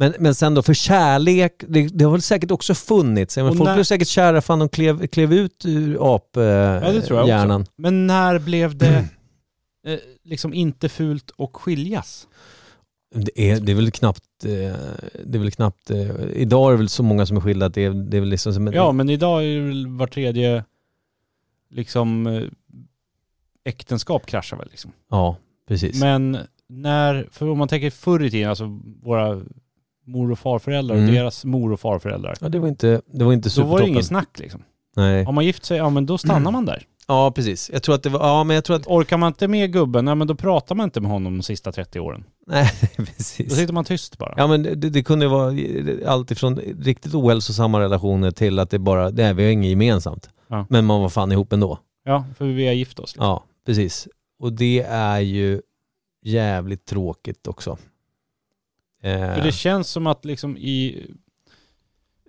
B: Men, men sen då för kärlek, det, det har väl säkert också funnits. Jag menar,
A: Och
B: folk
A: när-
B: blev säkert kära fan de klev, klev ut ur aphjärnan.
A: Ja,
B: Eh,
A: det tror jag också.
B: hjärnan.
A: Men när blev det eh, liksom inte fult och skiljas?
B: Det är, det är väl knappt, eh, det är väl knappt eh, idag är det väl så många som är skilda att det är, det är väl liksom som en,
A: Ja, men idag är det väl var tredje liksom eh, äktenskap kraschar väl liksom.
B: ja, precis.
A: Men när, för om man tänker förr i tiden, alltså våra mor och farföräldrar och
B: Mm.
A: deras mor och farföräldrar,
B: ja, det var inte, det var inte
A: då var det
B: supertoppen. Mm.
A: inget snack liksom.
B: Nej.
A: Har man gift sig, ja men då stannar man där.
B: Ja, precis. Jag tror att det var, ja men jag tror att,
A: Orkar man inte med gubben, ja men då pratar man inte med honom de sista 30 åren.
B: nej
A: Då
B: precis.
A: sitter man tyst bara.
B: Ja men det, det kunde ju vara allt ifrån riktigt ohälsosamma relationer till att det bara, nej vi har inget gemensamt.
A: Ja.
B: Men man var fan ihop ändå.
A: Ja, för vi har gift oss. Liksom.
B: Ja, precis. Och det är ju jävligt tråkigt också. Eh,
A: För det känns som att liksom i...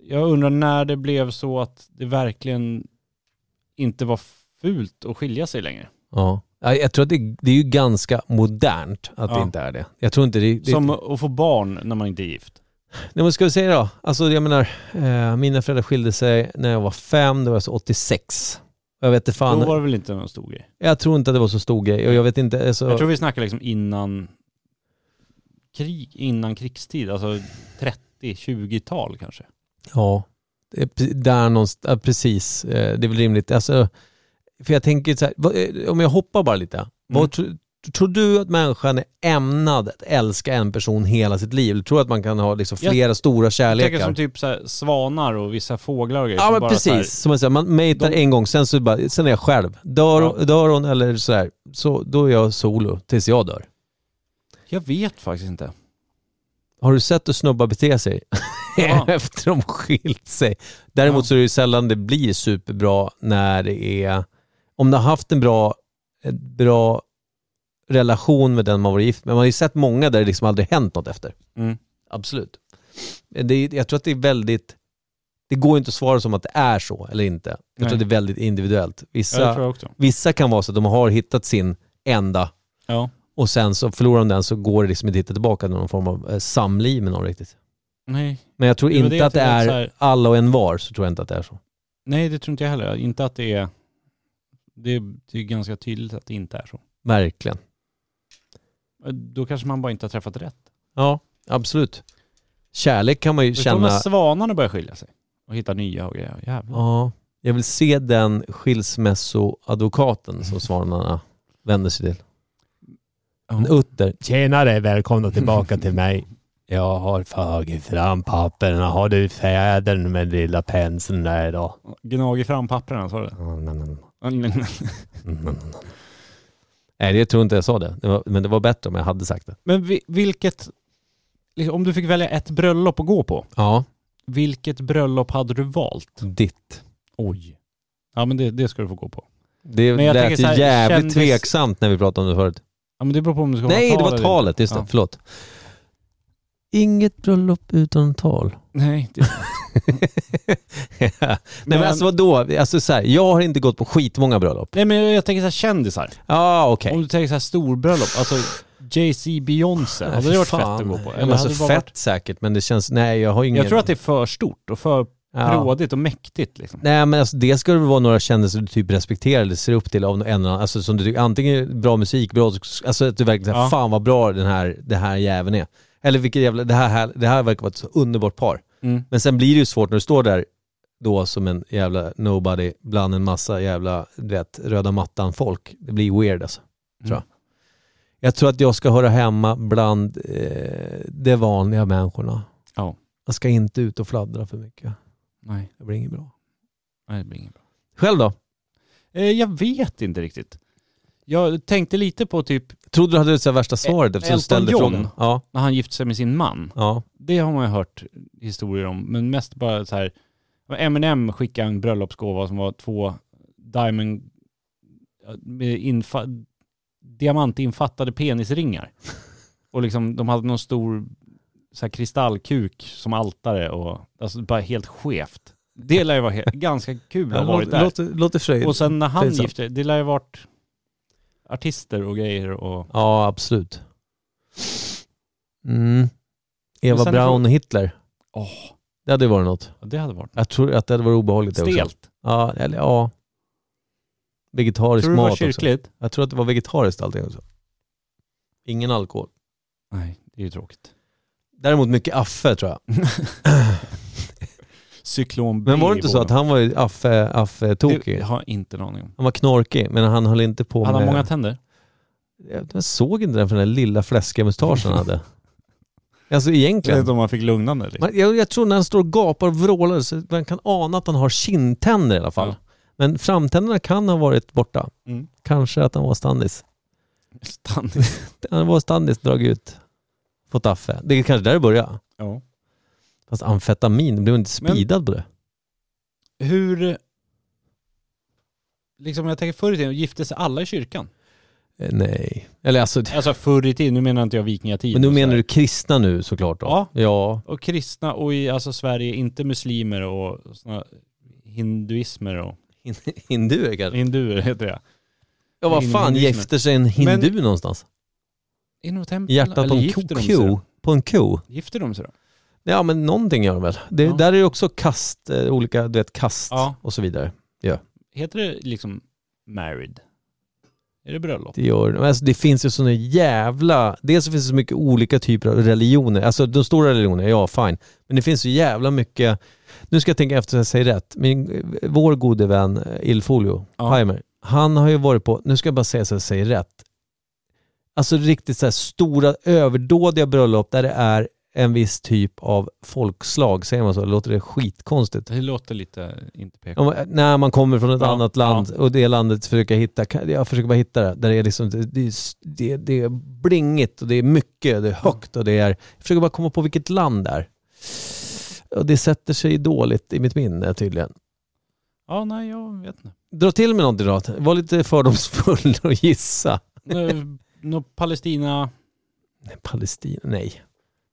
A: Jag undrar när det blev så att det verkligen inte var fult att skilja sig längre.
B: Ja. Ja, Jag tror att det, det är ju ganska modernt att det
A: Ja.
B: inte är det. Jag tror inte det... det
A: Som att få barn när man inte är gift.
B: Nej men ska vi säga då? Alltså jag menar, eh, mina föräldrar skilde sig när jag var fem, det var alltså 86. Och Jag vet inte fan,
A: Då var det väl inte någon stor grej.
B: jag tror inte att det var så stor grej och jag vet inte, alltså,
A: Jag tror vi snackar liksom innan krig, innan krigstid, alltså 30-20-tal kanske.
B: ja, det är pre- där någonstans, ja, precis, eh, det är väl rimligt. Alltså, för jag tänker så här, vad- eh, om jag hoppar bara lite. Vad,
A: Mm.
B: tro, tror du att människan är ämnad att älska en person hela sitt liv? Eller tror du att man kan ha liksom
A: Jag-
B: flera stora
A: Jag tänker
B: kärlekar?
A: som typ så här, svanar och vissa fåglar och grejer.
B: Ja
A: som
B: men
A: bara
B: precis,
A: så här-
B: som jag säger, man mejtar en gång, sen, så bara, sen är jag själv. Dör,
A: Ja.
B: dör hon eller sådär, så, då är jag solo tills jag dör.
A: jag vet faktiskt
B: Mm.
A: inte.
B: Har du sett hur snubbar beter sig
A: Ja.
B: efter de skilt sig? Däremot
A: Ja.
B: så är det ju sällan det blir superbra när det är, om du har haft en bra, en bra relation med den man var gift med, man har ju sett många där det liksom aldrig hänt något efter.
A: Mm.
B: Absolut. Men Det, är- jag tror att det är väldigt, det går ju inte att svara som att det är så eller inte. Jag
A: Nej.
B: tror att det är väldigt individuellt.
A: Ja, det tror
B: Vissa,
A: jag också.
B: vissa kan vara så att de har hittat sin enda
A: Ja.
B: och sen så förlorar de den så går det liksom inte att hitta tillbaka till någon form av eh, samliv med någon riktigt.
A: Nej.
B: Men jag tror
A: Jo, men
B: inte
A: det är
B: att det
A: typ
B: är
A: så här-
B: alla och en var, så tror jag inte att det är så.
A: Nej, det tror inte jag heller. Inte att det är... Det är, det är ganska tydligt att det inte är så.
B: Verkligen.
A: Då kanske man bara inte har träffat rätt.
B: Ja, absolut. Kärlek kan man ju
A: Förstår du
B: känna...
A: när svanarna börjar skilja sig och hitta nya och grejer. Jävlar.
B: Ja, jag vill se den skilsmässoadvokaten som svanarna vänder sig till. En utter.
G: Tjenare, välkomna tillbaka till mig. Jag har tagit fram papperna. Har du fädern med lilla penseln där idag?
A: Gnagit fram papperna, sa du
G: Mm, mm, mm,
A: det?
G: mm, mm.
B: Nej, jag tror inte jag sa det. det var, men det var bättre om jag hade sagt det.
A: Men vi- vilket... liksom, Om du fick välja ett bröllop att gå på,
B: Ja,
A: vilket bröllop hade du valt?
B: ditt.
A: Oj. Ja men det, det ska du få gå på.
B: Det
A: Men jag tänker
B: lät
A: så
B: ju
A: här,
B: jävligt
A: kändis-
B: tveksamt när vi pratade om det förut.
A: Ja men det beror på om du ska
B: Nej, det
A: hålla
B: var
A: tal eller inte.
B: talet. Just det,
A: Ja.
B: förlåt. Inget bröllop utan tal.
A: Nej, det,
B: Nej men,
A: Men-
B: alltså vadå? Alltså, så här, jag har inte gått på skitmånga bröllop.
A: nej men jag tänker såhär kändisar.
B: Ja okej.
A: Om du tänker såhär storbröllop, alltså Jay-Z Beyoncé,
B: Nej,
A: hade
B: fy
A: det varit
B: fan.
A: fett att gå på?
B: Ja, men
A: hade
B: alltså,
A: det bara
B: fett
A: Varit,
B: säkert men det känns, nej jag har ingen...
A: jag tror att det är för stort och för
B: ja.
A: prådigt och mäktigt liksom.
B: Nej men alltså det ska det väl vara några kändisar du typ respekterar eller ser upp till av en eller annan, alltså som du tycker, antingen bra musik, bra, alltså att du verkligen säger
A: Ja.
B: fan vad bra den här, det här jäveln är. Eller vilket jävla, det här, här, det här verkar vara ett så underbart par.
A: Mm.
B: Men sen blir det ju svårt när du står där då som en jävla nobody bland en massa jävla, du vet, röda mattan-folk. Det blir weird alltså. Tror jag.
A: Mm.
B: jag tror att jag ska höra hemma bland eh, de vanliga människorna.
A: Ja.
B: Jag ska inte ut och fladdra för mycket.
A: Nej,
B: Det blir inget bra.
A: nej, det blir inget bra.
B: Själv då?
A: Eh, jag vet inte riktigt. Jag tänkte lite på typ
B: Trodde du hade det så här värsta svaret eftersom du
A: Elton
B: ställde
A: John.
B: frågan? Ja,
A: när han gifte sig med sin man.
B: ja.
A: Det har man ju hört historier om, men mest bara så här. M&M skickade en bröllopsgåva som var två diamond, med infa, diamantinfattade penisringar. Och liksom, de hade någon stor så här, kristallkuk som altare och alltså, bara helt skevt. Det lär ju vara he- ganska kul att ha varit där.
B: Låter, låter fröjd.
A: Och sen när han
B: pinsamt.
A: gifte sig, det lär ju varit artister och grejer och...
B: Ja, absolut. Mm. Eva
A: Men sen-
B: Braun och Hitler.
A: Åh,
B: Det hade ju varit något.
A: det hade varit
B: Jag tror att det hade varit obehagligt. det också.
A: stelt.
B: Ja, eller ja. Vegetarisk
A: Tror du det var
B: mat också.
A: kyrkligt?
B: Jag tror att det var vegetariskt allting också. Ingen alkohol.
A: Nej, det är ju tråkigt.
B: Däremot mycket affe tror jag.
A: Cyklon B
B: Men var det inte
A: i
B: så att
A: båten?
B: han var ju affe, affe
A: Det
B: tokig
A: har jag inte en aning om.
B: Han var knorkig, men han höll inte på
A: Hade han
B: med...
A: många tänder?
B: Jag- Jag såg inte den för den där lilla fläskiga mustaschen han hade. Alltså egentligen.
A: om han fick lugnande. Eller?
B: Man- Jag, jag tror när han står och gapar och vrålar så man kan ana att han har kindtänder i alla fall.
A: Ja.
B: Men framtänderna kan ha varit borta.
A: Mm.
B: Kanske att han var standis.
A: Stannis.
B: Han var standis, dragit ut. Fått affe. Det är kanske där det börjar.
A: Ja.
B: Fast amfetamin, blev inte
A: Men-
B: speedad på det?
A: Hur... Liksom jag tänker förr i tiden, gifte sig alla i kyrkan?
B: Eh, Nej. Eller alltså,
A: Alltså förr i tiden, nu menar inte jag vikingatiden.
B: men nu
A: och
B: menar
A: sådär.
B: du kristna nu såklart då?
A: Ja.
B: Ja.
A: Och kristna och i alltså Sverige, inte muslimer och såna hinduismer och...
B: Hinduer kanske?
A: Hinduer heter det.
B: Ja vad fan
A: Hinduismen.
B: gifter sig en hindu någonstans?
A: I något tempel?
B: I hjärtat på
A: eller
B: en
A: gifter de sig
B: ko?
A: då?
B: På en ko?
A: Gifter de sig då?
B: Ja men någonting gör de väl. Det,
A: Ja.
B: Där är det också kast, eh, olika du vet kast
A: Ja.
B: och så vidare.
A: Heter det liksom married? Är det bröllop?
B: Det, gör, alltså det finns ju såna jävla, dels så finns det så mycket olika typer av religioner, alltså de stora religionerna, ja fine, men det finns så jävla mycket, nu ska jag tänka efter så jag säger rätt, Min, vår gode vän eh, Ilfolio
A: Ja.
B: Heimer, han har ju varit på, nu ska jag bara säga så jag säger rätt, alltså riktigt så här stora överdådiga bröllop där det är en viss typ av folkslag, säger man så? Låter det skitkonstigt?
A: Det låter lite inte PK.
B: Om, eh, när man kommer från ett
A: Ja,
B: annat land och det landet försöker jag hitta, kan- jag försöker bara hitta det, där det är liksom, det, det, är s- det, det är blingigt och det är mycket, det är högt och det är, jag försöker bara komma på vilket land det är. Och det sätter sig dåligt i mitt minne tydligen.
A: Ja, nej jag vet inte.
B: Dra till med någonting då, var lite fördomsfull och gissa.
A: Nå- Nå Palestina,
B: Nej, Palestina, nej.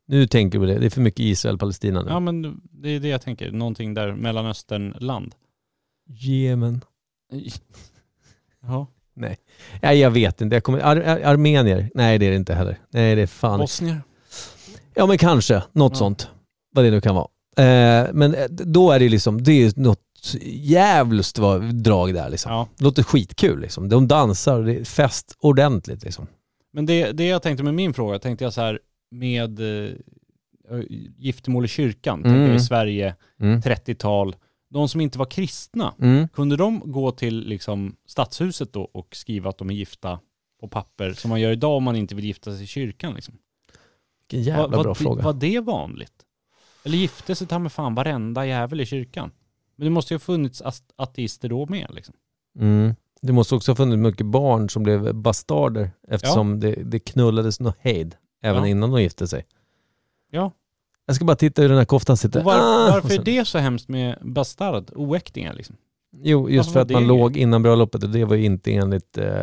B: Nu tänker vi det, det är för mycket Israel-Palestina nu.
A: ja men det är det jag tänker. Någonting där, mellanösternland.
B: Jemen.
A: Ja.
B: Nej jag vet inte, jag kommer, Ar- Ar- armenier, nej det är det inte heller. Nej det är fan
A: Bosnier.
B: Ja men kanske, något
A: Ja.
B: sånt. Vad det nu kan vara. Eh, men eh, då är det ju liksom, det är ju något jävligt drag där liksom.
A: Ja.
B: Det låter skitkul liksom. De dansar och det är fest ordentligt liksom.
A: Men det, det jag tänkte med min fråga, tänkte jag så här med eh, giftermål i kyrkan,
B: Mm.
A: tänkte jag i Sverige,
B: Mm.
A: 30-tal. De som inte var kristna,
B: Mm.
A: kunde de gå till liksom stadshuset då och skriva att de är gifta på papper som man gör idag om man inte vill gifta sig i kyrkan liksom?
B: Vilken jävla
A: var,
B: bra fråga.
A: Var det vanligt? Eller gifte sig ta med fan varenda jävel i kyrkan? Men det måste ju ha funnits ast- ateister då med liksom.
B: Mm. Det måste också ha funnits mycket barn som blev bastarder eftersom det, det knullades nå hejd även
A: Ja.
B: innan de gifte sig.
A: Ja.
B: Jag ska bara titta hur den här koftan sitter.
A: Och var,
B: Ah!
A: varför
B: Och sen-
A: är det så hemskt med bastard, oäktingar liksom?
B: Jo, just
A: Varför
B: för
A: var
B: att man
A: det-
B: låg innan bröllopet och det var ju inte enligt eh, eh,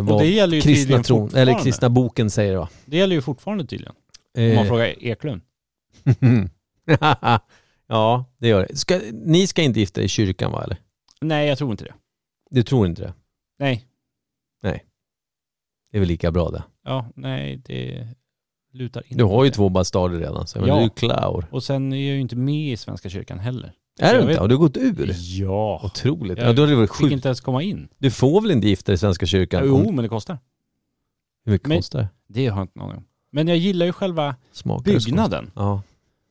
A: Och
B: vad
A: det gäller ju
B: kristna
A: tydligen
B: tron,
A: fortfarande.
B: eller kristna boken säger det va?
A: Det gäller ju fortfarande tydligen. Om man
B: Eh,
A: frågar Eklund.
B: ja, det gör det. Ska, ni ska inte gifta er i kyrkan va eller?
A: Nej, jag tror inte det.
B: Du tror inte det?
A: Nej.
B: Det är väl lika bra det.
A: Ja, nej, det lutar inte.
B: Du har ju
A: det.
B: två bastarder redan, så jag menar,
A: Ja.
B: du är ju klar.
A: Och sen är jag ju inte med i Svenska kyrkan heller.
B: Är
A: Jag
B: du inte?
A: vet.
B: Har du gått ur?
A: Ja.
B: Otroligt.
A: Jag
B: Ja, då hade det varit
A: Fick
B: sjukt.
A: inte ens komma in.
B: Du får väl inte gifta dig i Svenska kyrkan?
A: Jo,
B: Om-
A: men det kostar.
B: Hur mycket
A: men-
B: kostar det?
A: Det har jag inte någon aning om. Men jag gillar ju själva
B: Smakar det så konstigt?
A: byggnaden.
B: Ja.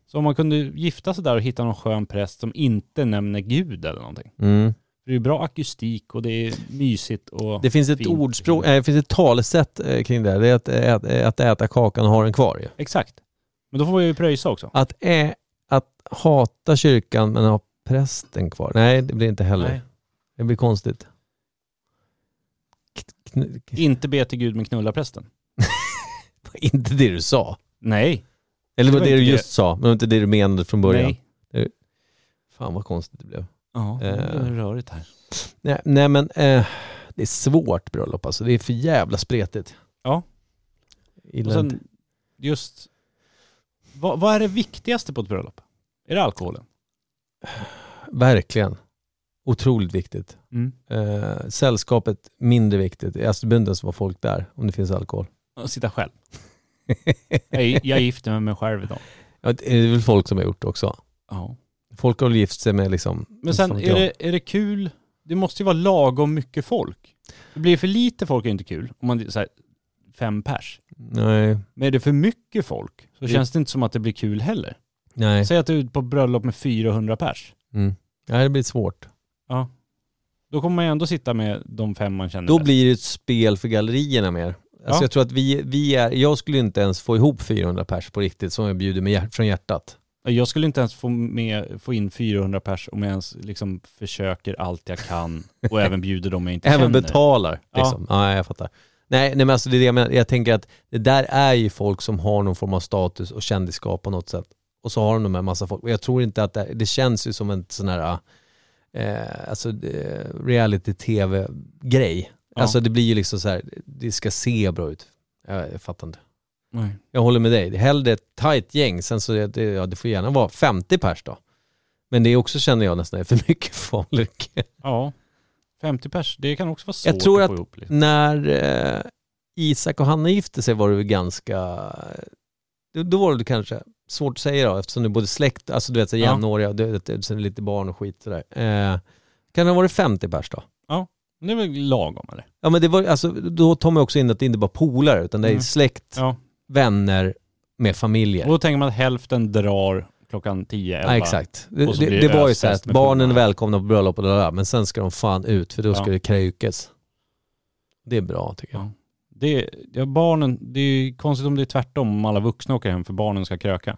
A: Så om man kunde gifta sig där och hitta någon skön präst som inte nämner Gud eller någonting.
B: Mm.
A: För det är ju bra akustik och det är mysigt och...
B: Det finns ett
A: Fint.
B: ordspråk, nej, det finns ett talesätt eh, kring det här. Det är att, ä, att, eh, att äta kakan och ha den kvar ju.
A: Exakt. Men då får vi ju pröjsa också.
B: Att, ä, att hata kyrkan men ha prästen kvar. Nej, det blir inte heller.
A: Nej.
B: Det blir konstigt. K- kn- k-
A: Inte be till Gud men knulla prästen.
B: Inte det du sa.
A: Nej.
B: Eller
A: Det
B: det,
A: var
B: det du
A: inte
B: just sa, men inte det du menade från början.
A: Nej.
B: Fan vad konstigt det blev.
A: Ja, det är rörigt här.
B: Nej, nej men eh, det är svårt bröllop alltså. Det är för jävla spretigt.
A: Ja.
B: Gillar
A: Och
B: inte.
A: sen just, vad, vad är det viktigaste på ett bröllop? Är det alkoholen?
B: Verkligen. Otroligt viktigt.
A: Mm.
B: Eh, sällskapet mindre viktigt. Alltså det behöver inte ens vara folk där om det finns alkohol.
A: Att sitta själv? jag, är- jag gifte mig med mig själv idag.
B: Ja, det är väl folk som har gjort det också.
A: Ja.
B: Folk har väl gift sig med liksom...
A: Men sen,
B: fan vet
A: är
B: jag.
A: det, är det kul? Det måste ju vara lagom mycket folk. Det blir för lite folk är inte kul, om man säger fem pers.
B: Nej,
A: Men är det för mycket folk så
B: Det-
A: känns det inte som att det blir kul heller.
B: nej.
A: Säg att du är ute på bröllop med 400 pers.
B: Mm. nej, det blir svårt.
A: Då kommer man ju ändå sitta med de fem man känner
B: Då
A: bäst.
B: blir det ett spel för gallerierna mer. Alltså
A: Ja.
B: jag tror att vi, vi är... Jag skulle inte ens få ihop 400 pers på riktigt som jag bjuder med hjär, från hjärtat.
A: Jag skulle inte ens få, med, få in 400 pers om jag ens liksom försöker allt jag kan och även bjuder dem jag inte
B: Även
A: känner.
B: betalar
A: Ja.
B: liksom. Ja. jag fattar. Nej, nej men alltså det är det jag menar. Jag tänker att det där är ju folk som har någon form av status och kändisskap på något sätt. Och så har de de här massa folk. Och jag tror inte att det, det känns ju som en sån här eh, alltså, eh, reality-tv-grej.
A: Ja.
B: Alltså det blir ju liksom så här, det ska se bra ut. Jag, jag fattar inte.
A: Nej.
B: Jag håller med dig. Hellre ett tajt gäng. Sen så, är det, ja det får gärna vara 50 pers då. Men det är också känner jag nästan är för mycket folk.
A: Ja. 50 pers, det kan också vara svårt
B: Jag tror
A: att,
B: att-
A: få ihop. Liksom.
B: När eh, Isak och Hanna gifte sig var det väl ganska, då- då var det kanske svårt att säga då, eftersom det är både släkt, alltså du vet så här
A: Ja.
B: jämnåriga, och det, det, sen lite barn och skit sådär. Eh, kan det ha varit 50 pers då?
A: Men Det är väl lagom eller?
B: Ja men det var, alltså, då tar man också in att det inte bara är polare utan det är
A: Mm.
B: släkt,
A: Ja.
B: vänner med familjer.
A: Och då tänker man att hälften drar klockan 10, 11.
B: Ja, exakt. Det,
A: Och så blir
B: det,
A: det
B: det var ju
A: ösfest
B: så här att
A: med
B: barnen är
A: polarna.
B: välkomna på bröllop och där, men sen ska de fan ut för då ska
A: Ja.
B: det krökas. Det är bra tycker jag.
A: Ja. Det, ja, barnen, det är ju konstigt om det är tvärtom, om alla vuxna åker hem för barnen ska kröka.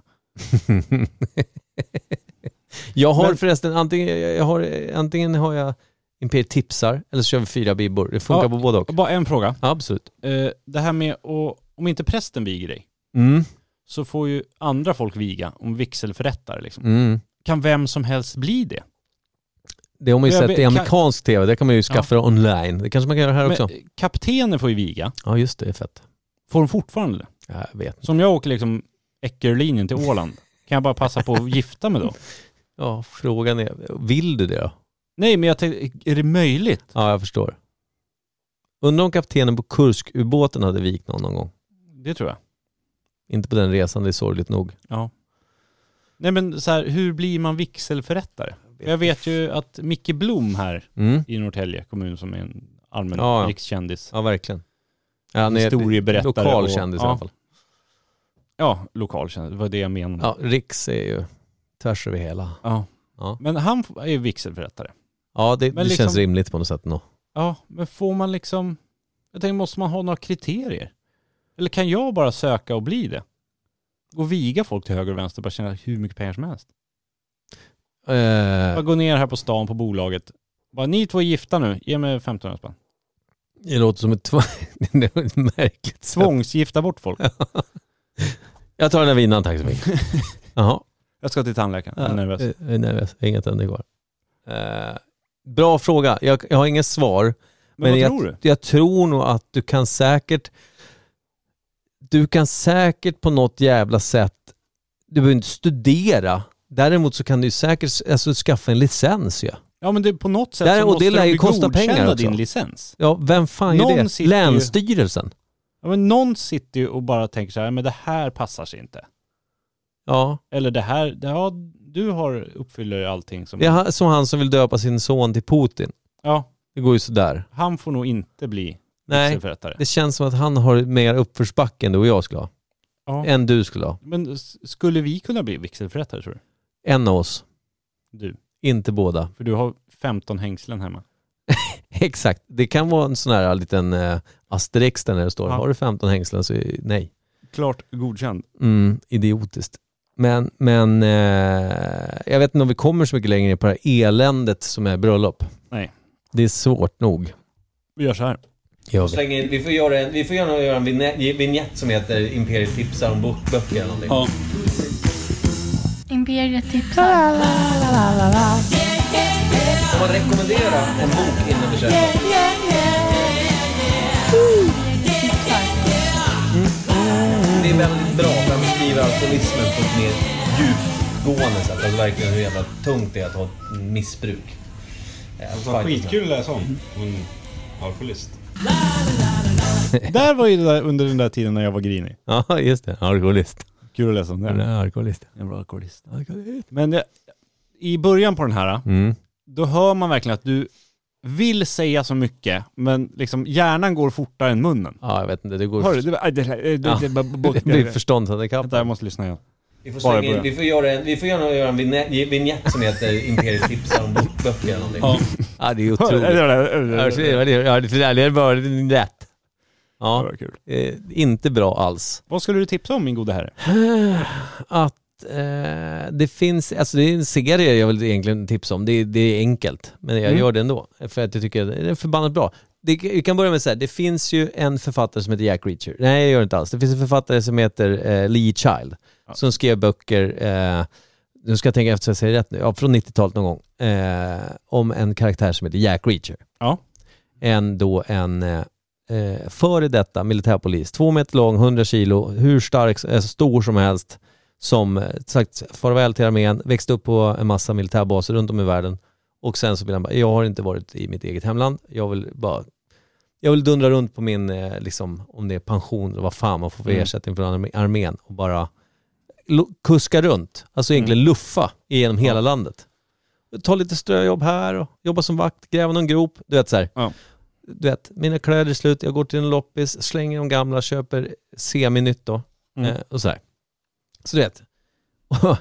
B: jag har
A: Men-
B: förresten, antingen, jag har, antingen har jag Imperiet tipsar eller så kör vi fyra bibbor. Det funkar
A: Ja.
B: på både och.
A: Och Bara en fråga.
B: Ja, absolut.
A: Eh, det här med att, om inte prästen viger dig,
B: Mm.
A: så får ju andra folk viga om vigselförrättare liksom.
B: Mm.
A: Kan vem som helst bli det?
B: Det har man ju
A: Jag
B: sett
A: vet-
B: i
A: kan-
B: amerikansk tv, det kan man ju skaffa online. Det kanske man kan göra här
A: Men,
B: också.
A: eh, kaptenen får ju viga.
B: Ja just det, det är fett.
A: Får de fortfarande det?
B: Ja, Jag vet.
A: Så om jag åker liksom Eckerlinjen till Åland, kan jag bara passa på att gifta mig då?
B: Ja, frågan är, vill du det då?
A: Nej, men jag tänkte, är det möjligt?
B: Ja, jag förstår. Undrar om kaptenen på Kurskubåten hade vikt någon, någon gång.
A: Det tror jag.
B: Inte på den resan, det är sorgligt nog.
A: Nej men så här, hur blir man vigselförrättare? Jag vet ju att Micke Blom här
B: Mm.
A: i Norrtälje kommun som är en allmän
B: Ja, ja.
A: rikskändis,
B: Ja, verkligen. Ja, han är
A: historieberättare
B: lokal
A: och-
B: kändis i
A: ja.
B: alla fall.
A: ja lokal kändis, det var det jag menade.
B: Ja, Riks är ju tvärs över hela.
A: Ja.
B: Ja.
A: Men han f- är ju vigselförrättare.
B: Ja, det,
A: Men
B: det
A: liksom-
B: känns rimligt på något sätt. Nå.
A: Ja, men får man liksom, jag tänker måste man ha några kriterier? Eller kan jag bara söka och bli det? Gå och viga folk till höger och vänster och bara tjäna hur mycket pengar som helst. Bara
B: Eh,
A: gå ner här på stan på bolaget. Bara ni två är gifta nu, ge mig 1500 spänn.
B: det låter som ett, tv- det är ett märkligt sätt.
A: Tvångsgifta bort folk.
B: Jag tar den här vinaren, tack så mycket. Jaha.
A: Jag ska till tandläkaren, jag
B: Ja,
A: är nervös.
B: eh, Jag är nervös, Jag har inga tänder kvar. Eh, bra fråga, jag, jag har inget svar.
A: Men, vad
B: jag,
A: tror du?
B: Jag tror nog att du kan säkert du kan säkert på något jävla sätt, du behöver inte studera, däremot så kan du ju säkert alltså, skaffa en licens ju. Ja.
A: Ja men det, på något sätt
B: Där-
A: så
B: och
A: måste
B: det lär
A: de
B: ju
A: ju
B: kosta
A: godkänna
B: pengar också.
A: din licens.
B: ja, vem fan
A: Någon
B: är det?
A: sitter ju-
B: Länsstyrelsen?
A: Ja, men någon sitter ju och bara tänker så här, men det här passar sig inte.
B: Ja,
A: Eller det här, det, ja du har, uppfyller allting som...
B: det är han- som han som vill döpa sin son till Putin.
A: ja
B: Det går ju sådär.
A: han får nog inte bli
B: Nej,
A: vigselförrättare.
B: det känns som att han har mer uppförsbacke än du och jag skulle ha.
A: Ja.
B: Än du skulle ha.
A: Men s- skulle vi kunna bli vigselförrättare tror du?
B: En av oss.
A: Du.
B: Inte båda.
A: För du har 15 hängslen hemma.
B: Exakt, det kan vara en sån här liten eh, asterix där när det står
A: Ja.
B: har du 15 hängslen så är- nej.
A: Klart godkänd.
B: Mm, idiotiskt. Men, men eh, jag vet inte om vi kommer så mycket längre på det här eländet som är bröllop.
A: Nej.
B: Det är svårt nog.
A: Vi gör så här.
B: Gör vi. In, vi får göra en, vi får gärna göra en vignett som heter Imperiet tipsar om böcker eller någonting.
A: Ja.
C: Imperiet tipsar.
B: Kan man rekommendera en bok innan vi köper? Det är väldigt bra för han beskriver alkoholismen på ett mer djupgående sätt. Alltså verkligen hur jävla tungt det är att ha ett missbruk. Eh, fight.
A: att läsa om. Alkoholist. Där var ju det där under den där tiden när jag var grinig.
B: Ja, just det. Alkoholist.
A: Kul att läsa om
B: Mm.
A: det.
B: Alkoholist.
A: Jag var alkoholist. Men det, i början på den här, eh,
B: Mm.
A: då hör man verkligen att du vill säga så mycket, men liksom hjärnan går fortare än munnen.
B: Ja, jag vet inte. Det går...
A: Hör du? Det, det, det,
B: Ja.
A: det, det,
B: Det blir förståndshandikapp.
A: Vänta, jag måste lyssna igen.
B: Vi får,
A: Bara i
B: slänga in,
A: början.
B: vi får, göra en, vi får gärna göra en vignett, vignett som heter Imperiet tipsar om bokböcker eller någonting. Ja. det är Ja, det där var rätt.
A: Ja,
B: Ja,
A: vad kul.
B: eh, inte bra alls.
A: Vad skulle du tipsa om min gode herre?
B: Att eh, det finns, alltså det är en serie jag vill egentligen tipsa om. Det, är- det är enkelt, men jag
A: Mm.
B: gör det ändå. För att jag tycker att det är förbannat bra. Det, vi kan börja med så här, det finns ju en författare som heter Jack Reacher. Nej, jag gör det inte alls. Det finns en författare som heter eh, Lee Child som skrev böcker, eh, nu ska jag tänka efter så jag säger rätt nu, ja, från 90-talet någon gång, eh, om en karaktär som heter Jack Reacher.
A: Ja.
B: En då en eh, eh, före detta militärpolis, två meter lång, 100 kilo, hur stark, eh, stor som helst, som eh, sagt farväl till armén, växte upp på en massa militärbaser runt om i världen Och sen så vill han bara, jag har inte varit i mitt eget hemland, jag vill bara jag vill dundra runt på min, eh, liksom, om det är pension eller vad fan man får för
A: Mm.
B: ersättning från arme- armén och bara lo- kuska runt. Alltså
A: Mm.
B: egentligen luffa genom hela landet. Ta lite ströjobb här och jobba som vakt, gräva någon grop. Du vet så här.
A: Ja.
B: Du vet, mina kläder är slut, jag går till en loppis, slänger de gamla, köper semi-nytt då.
A: Mm.
B: Eh, och så här. Så du vet. Och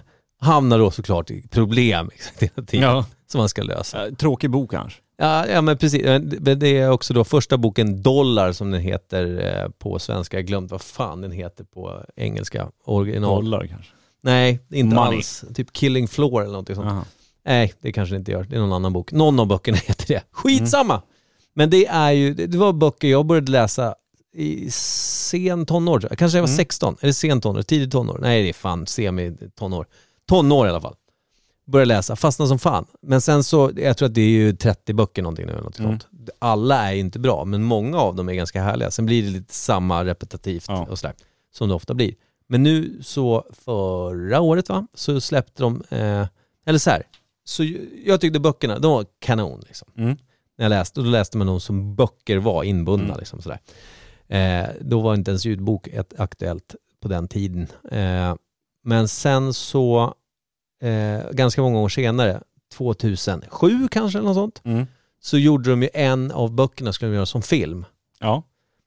B: hamnar då såklart i problem exakt hela tiden
A: Ja.
B: som man ska lösa.
A: Eh, Tråkig bok kanske.
B: Ja, ja men precis. Men Det det är också då första boken Dollar som den heter eh, på svenska. Jag har glömt vad fan den heter på engelska. Original.
A: Dollar kanske.
B: Nej, inte
A: Money.
B: alls. Typ Killing Floor eller någonting sånt.
A: Aha.
B: Nej, det kanske det inte gör. Det är någon annan bok. Någon av böckerna heter det. Skitsamma! Men det är ju, det det var böcker jag började läsa i sen tonår tror jag. Kanske jag var
A: Mm.
B: 16, eller sen tonår, tidig tonår. Nej det är fan semi-tonår. Tonår i alla fall. Började läsa, fastnade som fan. Men sen så, jag tror att det är ju 30 böcker någonting nu eller något sånt.
A: Mm.
B: Alla är ju inte bra, men många av dem är ganska härliga. Sen blir det lite samma repetitivt
A: Ja.
B: och sådär, som det ofta blir. Men nu så förra året va, så släppte de, eh, eller så här, så ju- jag tyckte böckerna, de var kanon liksom.
A: Mm.
B: När jag läste, och då läste man dem som böcker var inbundna
A: Mm.
B: liksom sådär. Eh, då var inte ens ljudbok ett, aktuellt på den tiden. Eh, men sen så, eh, ganska många år senare, 2007 kanske eller något sånt,
A: Mm.
B: så gjorde de ju en av böckerna skulle de göra som film.
A: Ja.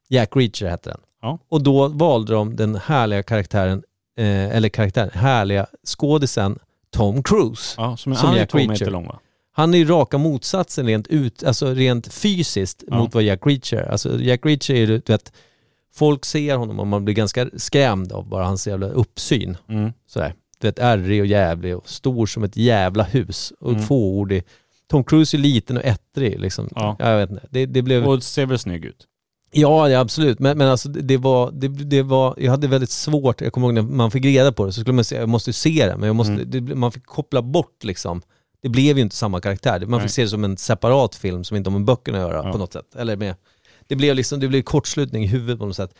B: Jack Reacher hette den.
A: Ja.
B: Och då valde de den härliga karaktären, eh, eller karaktären, härliga skådisen Tom Cruise.
A: ja, som,
B: Som
A: som är
B: Jack
A: två meter
B: Reacher.
A: lång va?
B: Han är ju raka motsatsen rent, ut, alltså rent fysiskt
A: Ja.
B: mot vad Jack Reacher är. Alltså Jack Reacher är ju, du vet, folk ser honom och man blir ganska skrämd av bara hans jävla uppsyn.
A: Mm.
B: Sådär. Du vet, ärrig och jävlig och stor som ett jävla hus och
A: Mm.
B: fåordig. Tom Cruise är liten och ettrig liksom.
A: Ja.
B: Jag vet inte. Det, det blev...
A: Mm. Och ser väl snygg ut.
B: Ja, ja absolut. Men, men alltså, det, det, var, det, det var, jag hade väldigt svårt, jag kommer ihåg när man fick reda på det, så skulle man säga, jag måste ju se det, men jag måste,
A: Mm.
B: det, man fick koppla bort liksom. Det blev ju inte samma karaktär. Man
A: Nej.
B: fick se det som en separat film som inte har med böckerna att göra
A: Ja.
B: på något sätt. Eller med, det blev liksom, det blev kortslutning i huvudet på något sätt.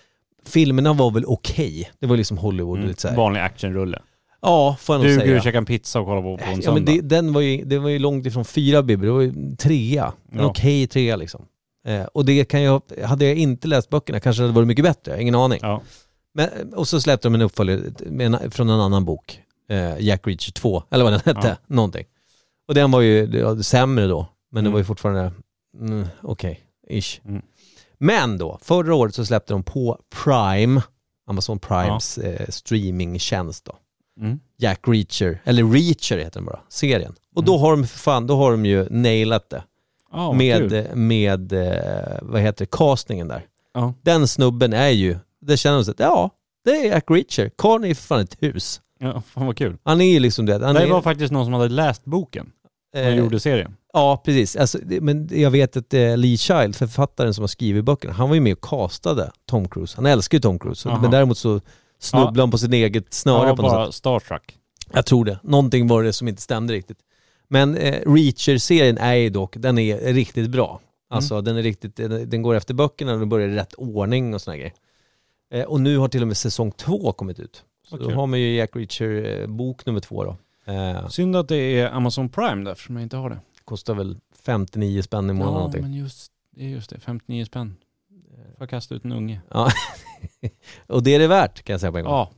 B: Filmerna var väl okej. Det var liksom Hollywood och
A: Mm.
B: lite så här.
A: Vanlig actionrulle.
B: Ja, får jag nog
A: Duger
B: säga.
A: att käka en pizza och kolla på på en
B: Ja, men
A: söndag.
B: det, den var ju, det var ju långt ifrån fyra bibber, det var ju en trea. En
A: Ja.
B: okej trea liksom. Eh, och det kan jag, hade jag inte läst böckerna kanske det hade varit mycket bättre, ingen aning.
A: Ja.
B: Men, och så släppte de en uppföljare med en, från en annan bok, eh, Jack Reacher 2, eller vad den hette, någonting. Och den var ju det var sämre då, men det
A: Mm.
B: var ju fortfarande, mm, okej, ish.
A: Mm.
B: Men då, förra året så släppte de på Prime, Amazon Primes eh, streamingtjänst då.
A: Mm.
B: Jack Reacher, eller Reacher heter den bara, serien. Och
A: Mm.
B: då har de för fan, då har de ju nailat det.
A: Ja, vad kul.
B: med, med, eh, vad heter det, castingen där.
A: Ja.
B: Den snubben är ju, det känner de sig, att, ja, det är Jack Reacher. Karln är ju för fan ett hus.
A: Ja, fan vad kul.
B: Han är ju liksom det, han
A: det
B: är,
A: var faktiskt någon som hade läst boken och
B: eh,
A: gjorde serien.
B: Ja, precis. Alltså, det, men jag vet att eh, Lee Child, författaren som har skrivit böckerna, han var ju med och castade Tom Cruise. Han älskar ju Tom Cruise,
A: Aha.
B: men däremot så snubblade han på sin eget snöre
A: Ja,
B: på något sätt.
A: bara Star Trek.
B: Jag tror det. Någonting var det som inte stämde riktigt. Men eh, Reacher-serien är ju dock, den är riktigt bra. Alltså den är riktigt, den, den går efter böckerna och den börjar i rätt ordning och såna här grejer. Eh, och nu har till och med säsong två kommit ut. Så
A: Vad
B: då
A: kul.
B: har man ju Jack Reacher eh, bok nummer två då. Eh,
A: Synd att det är Amazon Prime där, eftersom jag inte har det.
B: kostar väl 59 spänn i månaden
A: ja,
B: någonting. Eh,
A: men just det, är just det. 59 spänn. Får jag kasta ut en unge?
B: Och det är det värt kan jag säga på en gång.
A: Ja.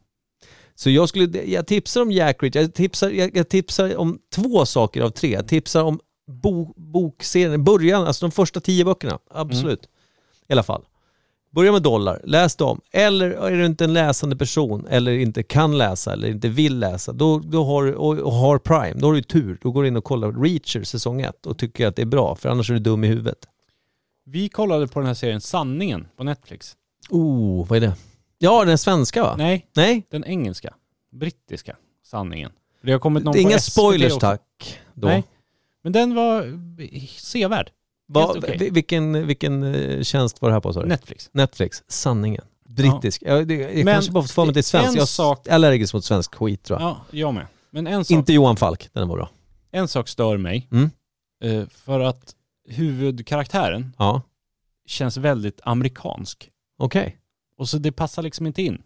B: Så jag, skulle, jag tipsar om Jack Reacher, jag tipsar, jag, jag tipsar om två saker av tre. Jag tipsar om bo, bokserien, början, alltså de första tio böckerna. Absolut. I alla fall. Börja med dollar, läs dem. Eller är du inte en läsande person, eller inte kan läsa, eller inte vill läsa, då, då har, du- och, och har Prime, då har du ju tur. Då går du in och kollar Reacher säsong ett och tycker att det är bra, för annars är du dum i huvudet.
A: Vi kollade på den här serien Sanningen på Netflix.
B: Oh, vad är det? Ja, den svenska va?
A: Nej,
B: Nej?
A: den engelska. Brittiska Sanningen. Det har kommit någon
B: Det är
A: på
B: inga
A: SVT
B: spoilers
A: också.
B: tack. Då.
A: Nej. Men den var eh, sevärd.
B: Va,
A: Helt okej.
B: vi- Vilken, vilken eh, tjänst var det här på sa du?
A: Netflix.
B: Netflix, sanningen. Brittisk. Jag, det, jag
A: Men
B: kanske bara fått för mig att det är svenskt.
A: en
B: Jag är
A: sak-
B: allergisk mot svensk skit tror jag.
A: Ja, jag med. Men en sak,
B: Inte Johan Falk, den var bra.
A: en sak stör mig.
B: Mm.
A: Eh, För att huvudkaraktären
B: Ja,
A: känns väldigt amerikansk.
B: okej.
A: Och så det passar liksom inte in.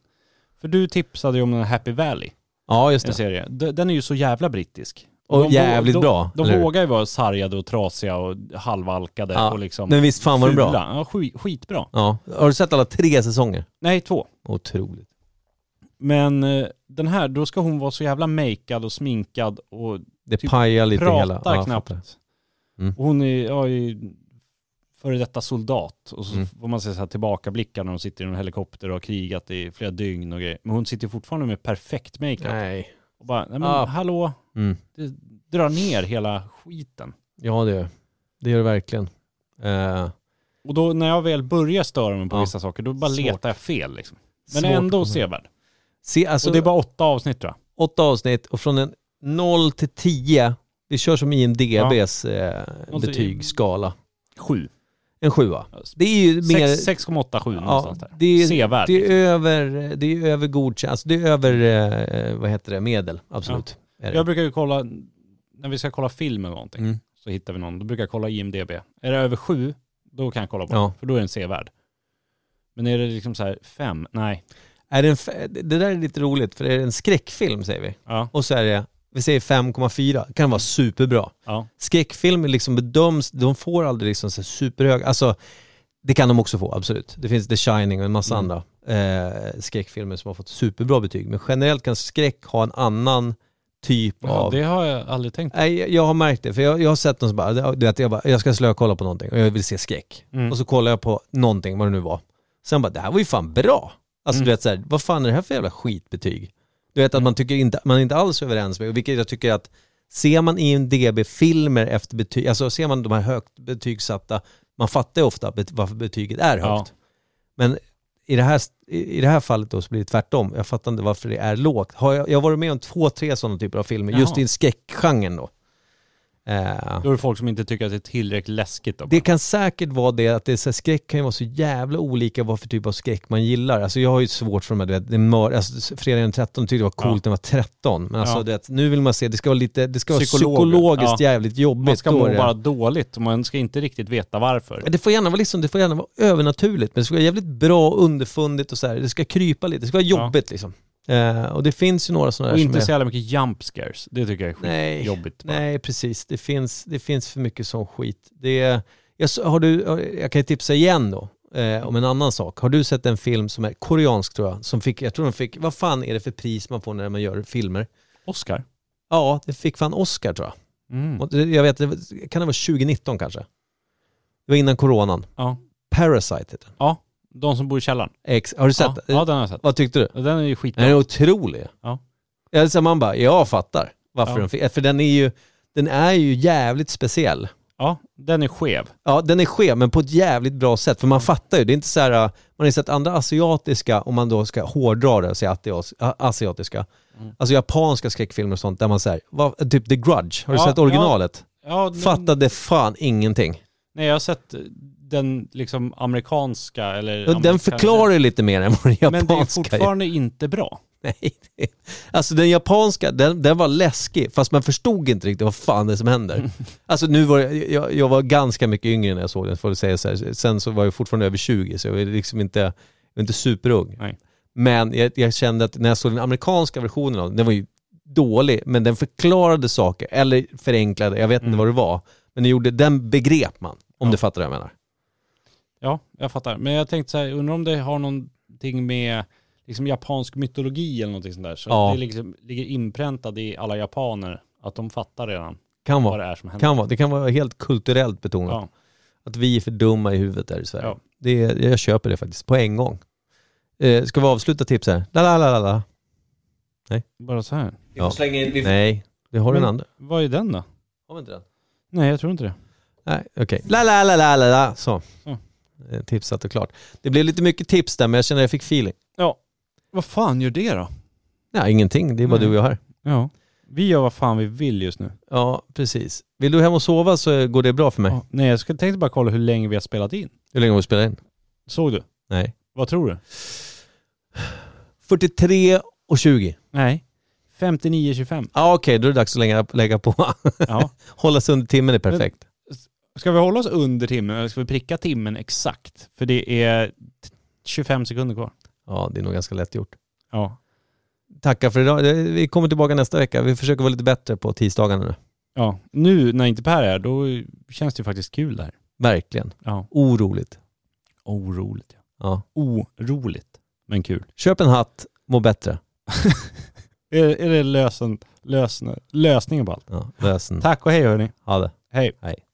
A: För du tipsade ju om den här Happy Valley,
B: Ja, just
A: en
B: det.
A: serie. D- Den är ju så jävla brittisk.
B: Och
A: De vå-
B: jävligt
A: de,
B: bra.
A: De
B: eller hur?
A: vågar ju vara sargade och trasiga och halvalkade
B: Ja,
A: och liksom
B: Men visst fan var den bra?
A: fula. Ja, skit, skitbra.
B: Ja. Har du sett alla tre säsonger?
A: Nej, två.
B: Otroligt.
A: Men eh, den här, då ska hon vara så jävla makead och sminkad och
B: Det
A: Typ
B: pajar lite
A: pratar
B: hela. Ja, jag
A: knappt.
B: fattar. Mm.
A: Och Hon är, ja, är före detta soldat och så
B: Mm.
A: får man se så här tillbakablickar när hon sitter i en helikopter och har krigat i flera dygn och grejer. Men hon sitter fortfarande med perfekt makeup.
B: Nej.
A: Och bara, nej men
B: Ah.
A: hallå,
B: Mm.
A: det drar ner hela skiten.
B: Ja det gör det. gör det verkligen. Eh,
A: Och då när jag väl börjar störa mig på
B: Ja.
A: vissa saker, då bara
B: Svårt.
A: letar jag fel liksom. Men
B: svårt Mm.
A: ändå
B: att-
A: sevärd.
B: Se, alltså,
A: Och det är bara åtta avsnitt tror jag.
B: åtta avsnitt och från en 0 till 10, vi kör som IMDBs
A: till-
B: eh, betygsskala.
A: Sju.
B: En sjua. Det är ju mer...
A: Sex- 6,87 någonstans där.
B: det är-
A: Sevärd.
B: Det är
A: liksom.
B: över, det är över godkänt, alltså det är över, eh, vad heter det, medel. Absolut. Är det.
A: Jag brukar ju kolla, när vi ska kolla film eller någonting,
B: Mm.
A: så hittar vi någon. Då brukar jag kolla IMDB. Är det över sju, då kan jag kolla på
B: Ja.
A: den, för då är den sevärd. Men är det liksom så här fem? Nej.
B: Är det, en, f- det där är lite roligt, för är det en skräckfilm säger vi,
A: Ja.
B: och så är det, vi säger 5,4, kan vara superbra.
A: ja.
B: Skräckfilmer liksom bedöms, de får aldrig liksom så här superhöga, alltså det kan de också få, absolut. Det finns The Shining och en massa
A: Mm.
B: andra eh, skräckfilmer som har fått superbra betyg. Men generellt kan skräck ha en annan typ
A: ja.
B: av
A: Det har jag aldrig tänkt på.
B: Nej, jag- jag har märkt det, för jag, jag har sett någon som bara, du vet, jag, bara, jag ska slöa och kolla på någonting och jag vill se skräck.
A: Mm.
B: Och så kollar jag på någonting, vad det nu var. Sen bara, det här var ju fan bra. Alltså
A: Mm.
B: du vet så här, vad fan är det här för jävla skitbetyg? Du vet att man tycker inte, man är inte alls överens med, och vilket jag tycker att, ser man IMDB-filmer efter betyg, alltså ser man de här högt betygsatta, man fattar ju ofta bet, varför betyget är högt.
A: Ja.
B: Men i det, här, i i det här fallet då så blir det tvärtom. Jag fattar inte varför det är lågt. Har jag, jag har varit med om två, tre sådana typer av filmer, just
A: Jaha.
B: i skräckgenren då. Eh,
A: Då är det folk som inte tycker att det är tillräckligt läskigt. Då.
B: det kan säkert vara det att det är så här, skräck kan ju vara så jävla olika vad för typ av skräck man gillar. Alltså jag har ju svårt för de här, du vet, det är mör, alltså, fredagen den 13 tyckte jag var coolt när jag var 13. Men alltså
A: Ja.
B: du vet, nu vill man se, det ska vara lite, det ska vara
A: Psykologer.
B: psykologiskt jävligt jobbigt.
A: man ska
B: Då
A: må
B: är det-
A: bara dåligt och man ska inte riktigt veta varför.
B: Ja, Det får gärna vara, liksom, det får gärna vara övernaturligt, men det ska vara jävligt bra och underfundigt och så här. Det ska krypa lite, det ska vara
A: Ja.
B: jobbigt liksom. Eh, och det finns ju några sådana
A: Och
B: där som
A: inte
B: är...
A: så jävla mycket jump scares. Det tycker jag är
B: Nej.
A: skitjobbigt. bara.
B: Nej, precis. Det finns, det finns för mycket sån skit. Det är, jag, s- har du, jag kan ju tipsa igen då, eh, om en annan sak. Har du sett en film som är koreansk tror jag, som fick, jag tror den fick, vad fan är det för pris man får när man gör filmer?
A: Oscar.
B: Ja, det fick fan Oscar tror jag.
A: Mm.
B: Och det- Jag vet, det var- kan det vara 2019 kanske? Det var innan coronan.
A: Ja.
B: Parasite heter den.
A: ja, de som bor i källaren.
B: Ex, har du sett
A: ja.
B: den?
A: ja, den har jag sett.
B: Vad tyckte du?
A: Den är ju
B: Den är
A: skitbra.
B: otrolig.
A: Ja.
B: Alltså man bara, jag fattar varför
A: Ja.
B: den fick, för den är ju, den är ju jävligt speciell.
A: Ja, den är skev.
B: Ja, den är skev, men på ett jävligt bra sätt. För man fattar ju, det är inte så här, man har ju sett andra asiatiska, om man då ska hårdra det och säga att det är as- a- asiatiska,
A: Mm.
B: alltså japanska skräckfilmer och sånt, där man säger, vad- typ The Grudge, har du
A: Ja,
B: sett originalet?
A: Ja, den-
B: Fattade fan ingenting.
A: Nej, jag har sett eh, den liksom amerikanska eller...
B: Och den
A: amerikanska-
B: förklarar ju lite mer än vad den
A: Men det är
B: japanska gör.
A: fortfarande inte bra.
B: Nej, det- Alltså den japanska, den, den var läskig, fast man förstod inte riktigt vad fan det är som händer. Alltså nu var jag, jag, jag var ganska mycket yngre när jag såg den, får jag säga så här. Sen så var jag fortfarande över 20, så jag var liksom inte, jag var inte superung.
A: Nej.
B: Men jag, jag kände att när jag såg den amerikanska versionen av den, den var ju dålig, men den förklarade saker, eller förenklade, jag vet inte
A: Mm.
B: vad det var. Men den, gjorde, den begrep man, om
A: Ja.
B: du fattar vad jag menar.
A: Ja, jag fattar. Men jag tänkte så här, undrar om det har någonting med liksom japansk mytologi eller någonting sånt där. Så
B: Ja.
A: det liksom ligger inpräntat i alla japaner att de fattar redan
B: Kan
A: vad
B: vara.
A: det är som händer.
B: Kan vara. Det kan vara helt kulturellt betonat.
A: Ja.
B: Att vi är för dumma i huvudet här i Sverige.
A: Ja.
B: Det är, jag köper det faktiskt, på en gång. Eh, ska vi avsluta tips här? La, la, la, la, la.
A: Bara så här.
B: Vi får slänga in... Nej, vi har den
A: Men-
B: andra.
A: Vad är den då?
B: Har vi inte den?
A: Nej, jag tror inte det.
B: Nej, okej. La, la, la, la, la, la. Så.
A: Så.
B: Eh, Tipsat och klart. Det blev lite mycket tips där, men jag känner att jag fick feeling.
A: Vad fan gör det då?
B: Nej, ingenting. Det är bara
A: Nej.
B: du och jag här.
A: Ja. Vi gör vad fan vi vill just nu.
B: Ja, precis. Vill du hem och sova så eh, går det bra för mig.
A: Ja. Nej, jag ska- tänkte bara kolla hur länge vi har spelat in.
B: Hur länge har vi spelat in?
A: Såg du?
B: Nej.
A: Vad tror du?
B: 43 och 20.
A: Nej. 59.25.
B: Ja, okej, då är det dags att lägga, lägga på.
A: Ja.
B: Hålla sig under timmen är perfekt.
A: Ska vi hålla oss under timmen eller ska vi pricka timmen exakt? För det är t- 25 sekunder kvar.
B: Ja, det är nog ganska lätt gjort.
A: Ja.
B: tacka för idag. Eh, Vi kommer tillbaka nästa vecka. Vi försöker vara lite bättre på tisdagarna nu.
A: Ja, nu när inte Per är här, då känns det ju faktiskt kul där.
B: Verkligen.
A: Ja.
B: Oroligt.
A: Oroligt. ja.
B: Ja.
A: Oroligt, men kul.
B: Köp en hatt, må bättre.
A: Är, är det lösen, lösen, lösningen på allt?
B: Ja, lösen.
A: Tá, Tack och hej hörni.
B: Ha det.
A: Hej.
B: Hej.